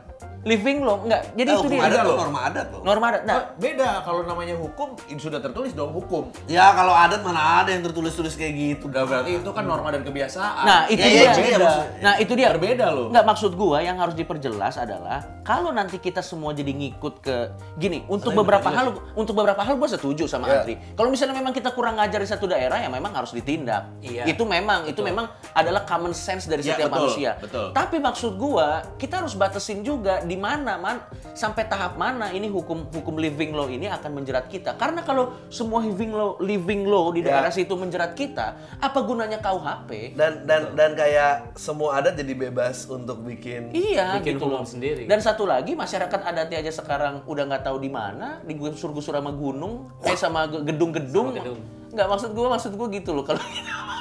Speaker 4: Living law enggak. Jadi
Speaker 1: Eh,
Speaker 4: itu
Speaker 1: hukum
Speaker 4: dia.
Speaker 1: adat
Speaker 3: Ada
Speaker 1: tuh
Speaker 3: loh.
Speaker 1: norma adat loh.
Speaker 4: Norma adat. Nah,
Speaker 3: Nah, beda kalau namanya hukum itu sudah tertulis dong hukum.
Speaker 1: Ya kalau adat mana ada yang tertulis-tulis kayak gitu.
Speaker 3: Udah berarti itu kan norma dan kebiasaan.
Speaker 4: Nah, itu
Speaker 1: Ya, ya,
Speaker 4: dia.
Speaker 1: itu dia
Speaker 4: Beda.
Speaker 1: maksudnya.
Speaker 4: Nah, itu dia.
Speaker 3: iya, Berbeda loh.
Speaker 4: Nggak maksud gua yang harus diperjelas adalah kalau nanti kita semua jadi ngikut ke gini, untuk beberapa hal untuk beberapa hal gua setuju sama
Speaker 3: Iya.
Speaker 4: Adri. Kalau misalnya memang kita kurang ngajar di satu daerah ya memang harus ditindak.
Speaker 2: Iya.
Speaker 4: Itu memang itu memang adalah common sense dari
Speaker 3: Ya,
Speaker 4: setiap
Speaker 3: betul,
Speaker 4: manusia.
Speaker 3: betul.
Speaker 4: Tapi maksud gua kita harus batasin juga di mana man sampai tahap mana ini hukum hukum living law ini akan menjerat kita. Karena kalau semua living law living law
Speaker 3: Iya.
Speaker 4: di daerah situ menjerat kita, apa gunanya KUHP?
Speaker 1: Dan dan dan kayak semua adat jadi bebas untuk bikin
Speaker 4: Iya,
Speaker 2: Bikin
Speaker 4: gitu
Speaker 2: hukum
Speaker 4: loh.
Speaker 2: sendiri.
Speaker 4: Dan satu lagi masyarakat adatnya aja sekarang udah nggak tahu di mana, digusur-gusur sama gunung, eh sama ge- gedung-gedung.
Speaker 2: Sama gedung.
Speaker 4: Nggak maksud gua, maksud gua gitu loh kalau (laughs)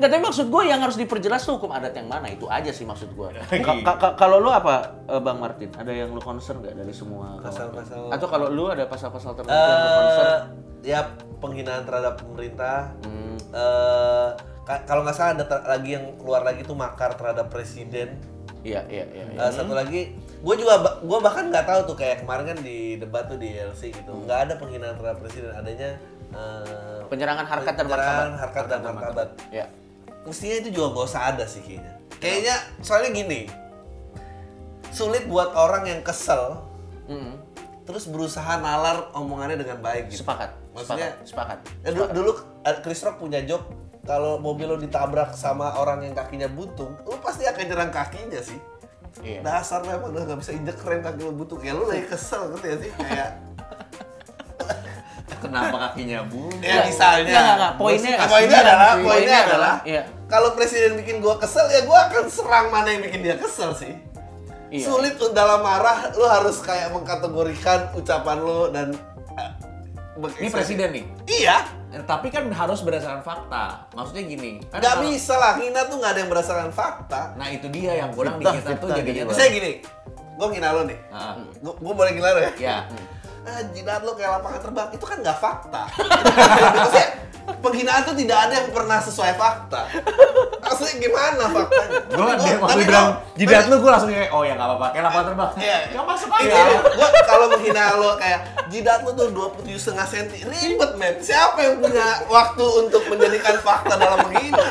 Speaker 4: Nggak, tapi maksud gua yang harus diperjelas tuh hukum adat yang mana itu aja sih maksud gua.
Speaker 2: Ya,
Speaker 4: Ka- ka- ka- Kalau lu apa, eh, Bang Martin? Ada yang lu concern nggak dari semua?
Speaker 1: Pasal-pasal-
Speaker 4: Atau kalau lu ada pasal-pasal tertentu yang lu concern?
Speaker 1: eh ya penghinaan terhadap pemerintah.
Speaker 4: Hmm.
Speaker 1: Eh, ka- kalau nggak salah ada ter- lagi yang keluar lagi tuh makar terhadap presiden.
Speaker 4: Iya, iya, iya.
Speaker 1: Eh, satu lagi, gue juga ba- gua bahkan nggak tahu tuh kayak kemarin kan di debat tuh di LC gitu,
Speaker 4: Hmm.
Speaker 1: nggak ada penghinaan terhadap presiden, adanya eh,
Speaker 4: Penyerangan harkat dan
Speaker 1: penyerangan
Speaker 4: martabat.
Speaker 1: harkat dan martabat.
Speaker 4: Iya.
Speaker 1: Mestinya itu juga nggak usah ada sih kayaknya. Kayaknya soalnya gini, sulit buat orang yang kesel
Speaker 4: Mm-mm.
Speaker 1: terus berusaha nalar omongannya dengan baik gitu.
Speaker 4: Sepakat.
Speaker 1: Maksudnya-
Speaker 4: sepakat, sepakat.
Speaker 1: Ya, dulu, dulu eh, Chris Rock punya joke kalau mobil lo ditabrak sama orang yang kakinya buntung, lo pasti akan nyerang kakinya sih.
Speaker 4: Iya.
Speaker 1: Dasar lo emang udah nggak bisa injek rem kaki lo buntung. Ya lo lagi kesel ngerti ya sih kayak
Speaker 4: (laughs)
Speaker 3: Kenapa kakinya bu?
Speaker 1: ya
Speaker 4: Iya.
Speaker 1: misalnya.
Speaker 4: enggak, enggak, enggak. Poinnya
Speaker 1: Maksud- poinnya
Speaker 4: aslinya
Speaker 1: adalah
Speaker 4: sih.
Speaker 1: poinnya,
Speaker 4: Poinnya
Speaker 1: adalah,
Speaker 4: adalah, iya.
Speaker 1: kalau presiden bikin gua kesel ya gua akan serang mana yang bikin dia kesel sih.
Speaker 4: Iya.
Speaker 1: Sulit tuh dalam marah lo harus kayak mengkategorikan ucapan lo dan eh, berekspresi.
Speaker 5: Ini presiden nih.
Speaker 1: Iya,
Speaker 5: Eh, Tapi kan harus berdasarkan fakta. Maksudnya gini. kan
Speaker 1: nggak
Speaker 5: kalau-
Speaker 1: bisa lah. Hina tuh nggak ada yang berdasarkan fakta.
Speaker 5: Nah itu dia yang kurang di
Speaker 6: Fitnah,
Speaker 5: kita tuh
Speaker 6: fitnah
Speaker 5: jadinya.
Speaker 6: gitu.
Speaker 5: tuh-
Speaker 1: Saya gini, gue ngina lo nih.
Speaker 5: Ah,
Speaker 1: Gue boleh ngina lo ya?
Speaker 5: Ya.
Speaker 1: Ah, jidat lo kayak lapangan terbang. Itu kan nggak fakta. (laughs) Maksudnya, penghinaan tuh tidak ada yang pernah sesuai fakta. Maksudnya gimana faktanya?
Speaker 5: Gue dia
Speaker 1: Gua-
Speaker 5: waktu
Speaker 1: tapi
Speaker 5: bilang
Speaker 1: gua-
Speaker 5: jidat lu gue langsung kayak oh ya nggak apa-apa kayak lapangan terbang.
Speaker 1: Iya.
Speaker 5: Nggak masuk
Speaker 1: Itu
Speaker 5: aja.
Speaker 1: gua kalau menghina lo kayak jidat lo tuh 27 setengah senti ribet men. Siapa yang punya waktu untuk menjadikan fakta dalam menghina?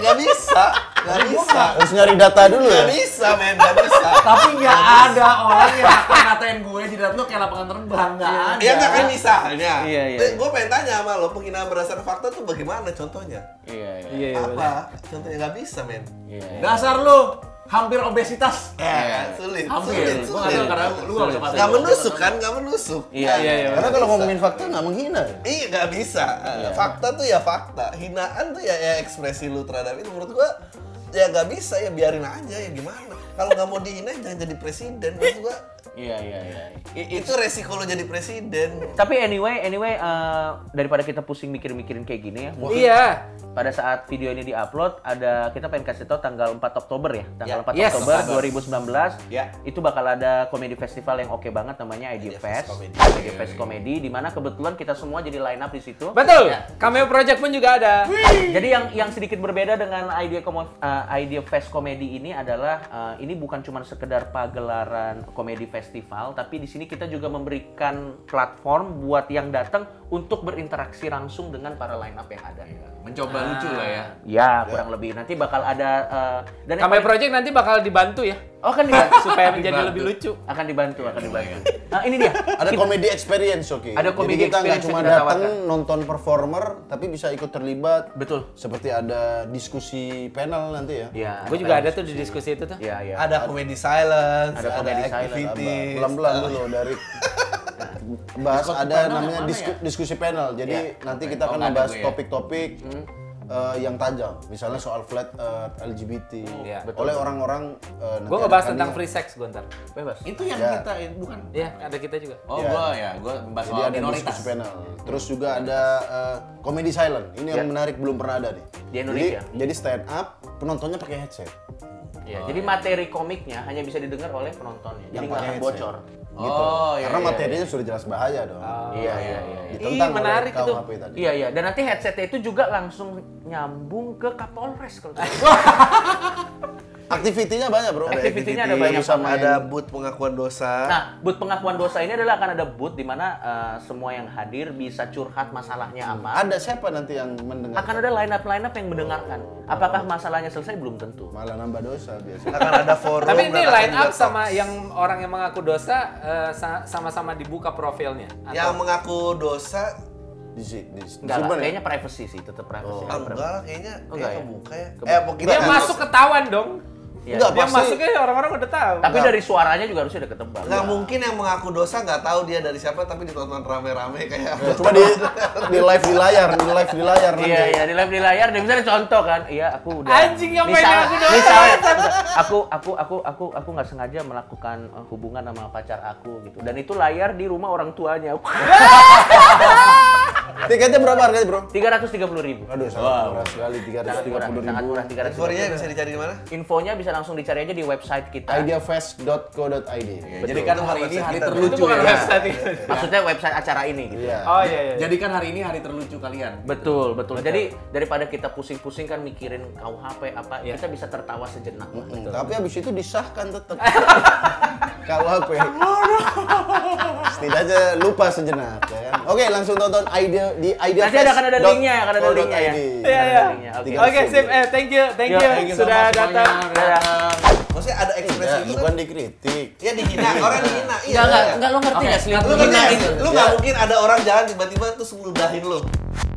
Speaker 1: Gak bisa, gak bisa.
Speaker 6: Harus nyari data dulu
Speaker 1: Gak
Speaker 6: ya.
Speaker 1: bisa men, gak bisa.
Speaker 5: Tapi nggak ada orang yang akan ngatain Oh, iya, gue jidat lu kayak lapangan terbang nggak ada.
Speaker 1: Ya nggak kan misalnya.
Speaker 4: Iya, iya.
Speaker 1: Gue pengen tanya sama lo, penghinaan berdasarkan fakta tuh bagaimana contohnya?
Speaker 4: Iya, iya.
Speaker 2: Iya, iya. bener.
Speaker 1: Apa? Contohnya nggak bisa men.
Speaker 5: Dasar lu hampir obesitas.
Speaker 4: Iya,
Speaker 1: Ya, sulit,
Speaker 5: Hampir.
Speaker 1: sulit,
Speaker 5: Gua nggak tahu karena lu nggak bisa
Speaker 1: sulit.
Speaker 5: pasti.
Speaker 1: Nggak menusuk kan, nggak menusuk.
Speaker 4: Iya,
Speaker 1: Kan?
Speaker 4: iya, iya.
Speaker 6: Karena
Speaker 1: Nggak
Speaker 6: kalau
Speaker 1: bisa.
Speaker 6: ngomongin fakta nggak menghina ya.
Speaker 1: Iya nggak bisa. Fakta tuh ya fakta. Hinaan tuh ya, ya ekspresi lu terhadap itu. Menurut gua ya nggak bisa ya biarin aja ya gimana. Kalau nggak mau dihina jangan jadi presiden. Menurut gua
Speaker 4: Iya, iya, iya. I- i-
Speaker 1: itu resiko lo jadi presiden.
Speaker 4: Tapi anyway, anyway eh, daripada kita pusing mikir-mikirin kayak gini ya.
Speaker 2: Iya.
Speaker 4: Pada saat video ini diupload ada kita pengen kasih tahu tanggal 4 Oktober ya. Tanggal 4
Speaker 2: Yes.
Speaker 4: Oktober
Speaker 2: Oktober.
Speaker 4: 2019
Speaker 5: Ya.
Speaker 4: itu bakal ada komedi festival yang oke banget namanya Idea Fest. Idea Iya, Fest Comedy di mana kebetulan kita semua jadi line up di situ.
Speaker 2: Betul.
Speaker 1: Iya.
Speaker 2: Cameo Project pun juga ada.
Speaker 4: Jadi yang yang sedikit berbeda dengan idea Komo- uh, idea fest komedi ini adalah uh, ini bukan cuma sekedar pagelaran komedi festival, tapi di sini kita juga memberikan platform buat yang datang untuk berinteraksi langsung dengan para line up yang ada.
Speaker 6: Iya.
Speaker 5: Mencoba
Speaker 1: Nah,
Speaker 5: lucu lah ya.
Speaker 4: Ya kurang lebih nanti bakal ada uh,
Speaker 1: Iya.
Speaker 4: dan yang
Speaker 2: Cameo
Speaker 4: paling-
Speaker 2: Project nanti bakal dibantu ya
Speaker 4: oh kan dibantu
Speaker 2: (laughs) supaya menjadi
Speaker 5: Dibantu.
Speaker 2: lebih lucu.
Speaker 4: akan dibantu akan dibantu. Nah, ini dia
Speaker 6: Iya, Ada comedy experience oke.
Speaker 4: Ada comedy
Speaker 6: Jadi kita nggak
Speaker 4: experience
Speaker 6: cuma
Speaker 4: yang kita
Speaker 6: datang
Speaker 4: tawarkan.
Speaker 6: nonton performer tapi bisa ikut terlibat.
Speaker 4: betul.
Speaker 6: Seperti ada diskusi panel nanti ya.
Speaker 4: Ya.
Speaker 2: Gue juga ada tuh di diskusi itu tuh.
Speaker 1: Iya.
Speaker 4: Ya ya.
Speaker 1: Ada comedy silence,
Speaker 4: Ada comedy
Speaker 1: activities.
Speaker 6: pelan-pelan dulu dari bahas ada namanya disku- diskusi panel. Jadi nanti kita akan membahas topik-topik eh, yang tajam, misalnya soal flat eh, LGBT oleh orang-orang eh, nanti
Speaker 2: Gue
Speaker 6: ada
Speaker 2: ngebahas
Speaker 1: Iya,
Speaker 6: kalian.
Speaker 2: tentang free sex gue ntar. Bebas.
Speaker 5: Itu yang
Speaker 6: Ya.
Speaker 5: kita eh, bukan.
Speaker 2: Iya, ada kita juga.
Speaker 5: Oh
Speaker 6: Ya.
Speaker 5: gue ya gue membahas
Speaker 6: Jadi
Speaker 5: soal
Speaker 6: ada
Speaker 5: minoritas.
Speaker 6: diskusi panel. Terus juga ada eh, comedy silent. Ini yang menarik belum pernah ada nih.
Speaker 4: Di Indonesia.
Speaker 6: Jadi, jadi stand up penontonnya pakai headset.
Speaker 4: Ya, jadi materi komiknya hanya bisa didengar oleh penontonnya. Jadi
Speaker 6: Oh, iya. Yang
Speaker 4: nggak
Speaker 6: pakai
Speaker 4: akan
Speaker 6: headset.
Speaker 4: bocor.
Speaker 6: Gitu.
Speaker 5: Oh, iya,
Speaker 6: Karena
Speaker 5: iya,
Speaker 6: materinya sudah jelas bahaya dong.
Speaker 4: Iya iya iya.
Speaker 6: Oh. Ditentang
Speaker 2: Ih, menarik
Speaker 6: oleh
Speaker 2: itu.
Speaker 6: KUHP tadi.
Speaker 4: Iya iya, dan nanti headsetnya itu juga langsung nyambung ke Kapolres kalau gitu. tidak salah.
Speaker 6: Aktivitinya banyak bro.
Speaker 4: Aktivitinya ada
Speaker 6: activity,
Speaker 4: banyak,
Speaker 6: bisa main-
Speaker 1: Ada booth pengakuan dosa.
Speaker 4: Nah, booth pengakuan dosa ini adalah akan ada booth di mana eh, semua yang hadir bisa curhat masalahnya apa.
Speaker 6: Ada siapa nanti yang mendengar?
Speaker 4: Akan ada line up line up yang mendengarkan.
Speaker 6: Oh.
Speaker 4: Apakah masalahnya selesai belum tentu.
Speaker 6: Malah nambah dosa biasanya.
Speaker 1: Akan ada forum.
Speaker 2: Tapi ini
Speaker 1: dan akan
Speaker 2: line up
Speaker 1: ada
Speaker 2: sama
Speaker 1: talks.
Speaker 2: yang orang yang mengaku dosa eh, sa- sama-sama dibuka profilnya. Atau-
Speaker 1: yang mengaku dosa
Speaker 6: Di sini, di sini.
Speaker 4: Enggak lah,
Speaker 6: Simpen ya?
Speaker 4: kayaknya privacy sih, tetap privacy.
Speaker 1: ah, enggak lah, kayaknya
Speaker 4: Oh, enggak
Speaker 1: kayak
Speaker 4: ya?
Speaker 1: kebuka ya.
Speaker 4: Kebuka.
Speaker 1: Eh, mau kita
Speaker 2: dia
Speaker 1: kan-
Speaker 2: masuk ketahuan dong.
Speaker 4: Iya.
Speaker 6: Enggak,
Speaker 2: Dia
Speaker 6: pasti.
Speaker 2: masuknya orang-orang udah tahu.
Speaker 4: Tapi dari suaranya juga harusnya udah ketebak.
Speaker 1: Nggak mungkin yang mengaku dosa nggak tahu dia dari siapa tapi ditonton rame-rame kayak
Speaker 6: Ya, Cuma di di live di layar, di live di layar nanti.
Speaker 4: Iya, iya, di live di layar dia misalnya contoh kan. Iya, aku udah
Speaker 2: Anjing, ngapain
Speaker 4: Misal-
Speaker 2: aku doang?
Speaker 4: misalnya, aku aku aku aku aku nggak sengaja melakukan eh, hubungan sama pacar aku gitu. Dan itu layar di rumah orang (laughs) tuanya.
Speaker 6: Tiketnya berapa harganya, Bro?
Speaker 4: 330.000 ribu.
Speaker 6: Aduh, sangat murah sekali,
Speaker 4: Sangat murah, sangat
Speaker 6: 330.000.
Speaker 4: murah 330.000.
Speaker 1: Euforianya bisa dicari di mana?
Speaker 4: Infonya bisa langsung dicari aja di website kita.
Speaker 6: ideafest.co.id.
Speaker 5: Jadi
Speaker 1: Iya,
Speaker 5: kan hari ini
Speaker 1: gitu.
Speaker 5: hari terlucu.
Speaker 2: itu bukan
Speaker 5: ya.
Speaker 2: website itu.
Speaker 4: Maksudnya website acara ini gitu.
Speaker 6: Iya.
Speaker 2: Oh iya iya.
Speaker 5: Jadi kan hari ini hari terlucu kalian.
Speaker 4: Betul, betul, Jadi daripada kita pusing-pusing kan mikirin KUHP apa,
Speaker 2: Iya.
Speaker 4: kita bisa tertawa sejenak.
Speaker 6: Mm, Tapi abis itu disahkan
Speaker 4: (laughs)
Speaker 6: tetap. Kalau aku ya. Setidaknya lupa sejenak ya kan. Oke, langsung tonton idea di idea
Speaker 4: Nanti ada- akan ada linknya ya, akan ada linknya ya.
Speaker 2: Iya iya.
Speaker 4: Oke.
Speaker 2: Oke, sip. Eh, thank you, thank
Speaker 4: Yo,
Speaker 2: you Iya.
Speaker 4: thank
Speaker 5: you
Speaker 2: sudah
Speaker 5: sama semuanya.
Speaker 2: datang.
Speaker 4: Dadah.
Speaker 1: Maksudnya ada ekspresi itu kan
Speaker 6: Iya, bukan dikritik.
Speaker 1: ya dihina, orang dihina. Iya.
Speaker 4: Enggak, enggak,
Speaker 1: iya.
Speaker 4: enggak lo ngerti
Speaker 5: Oke.
Speaker 4: nggak sih?
Speaker 1: Lu nggak lu nggak mungkin ada orang jalan tiba-tiba terus ngeludahin lu.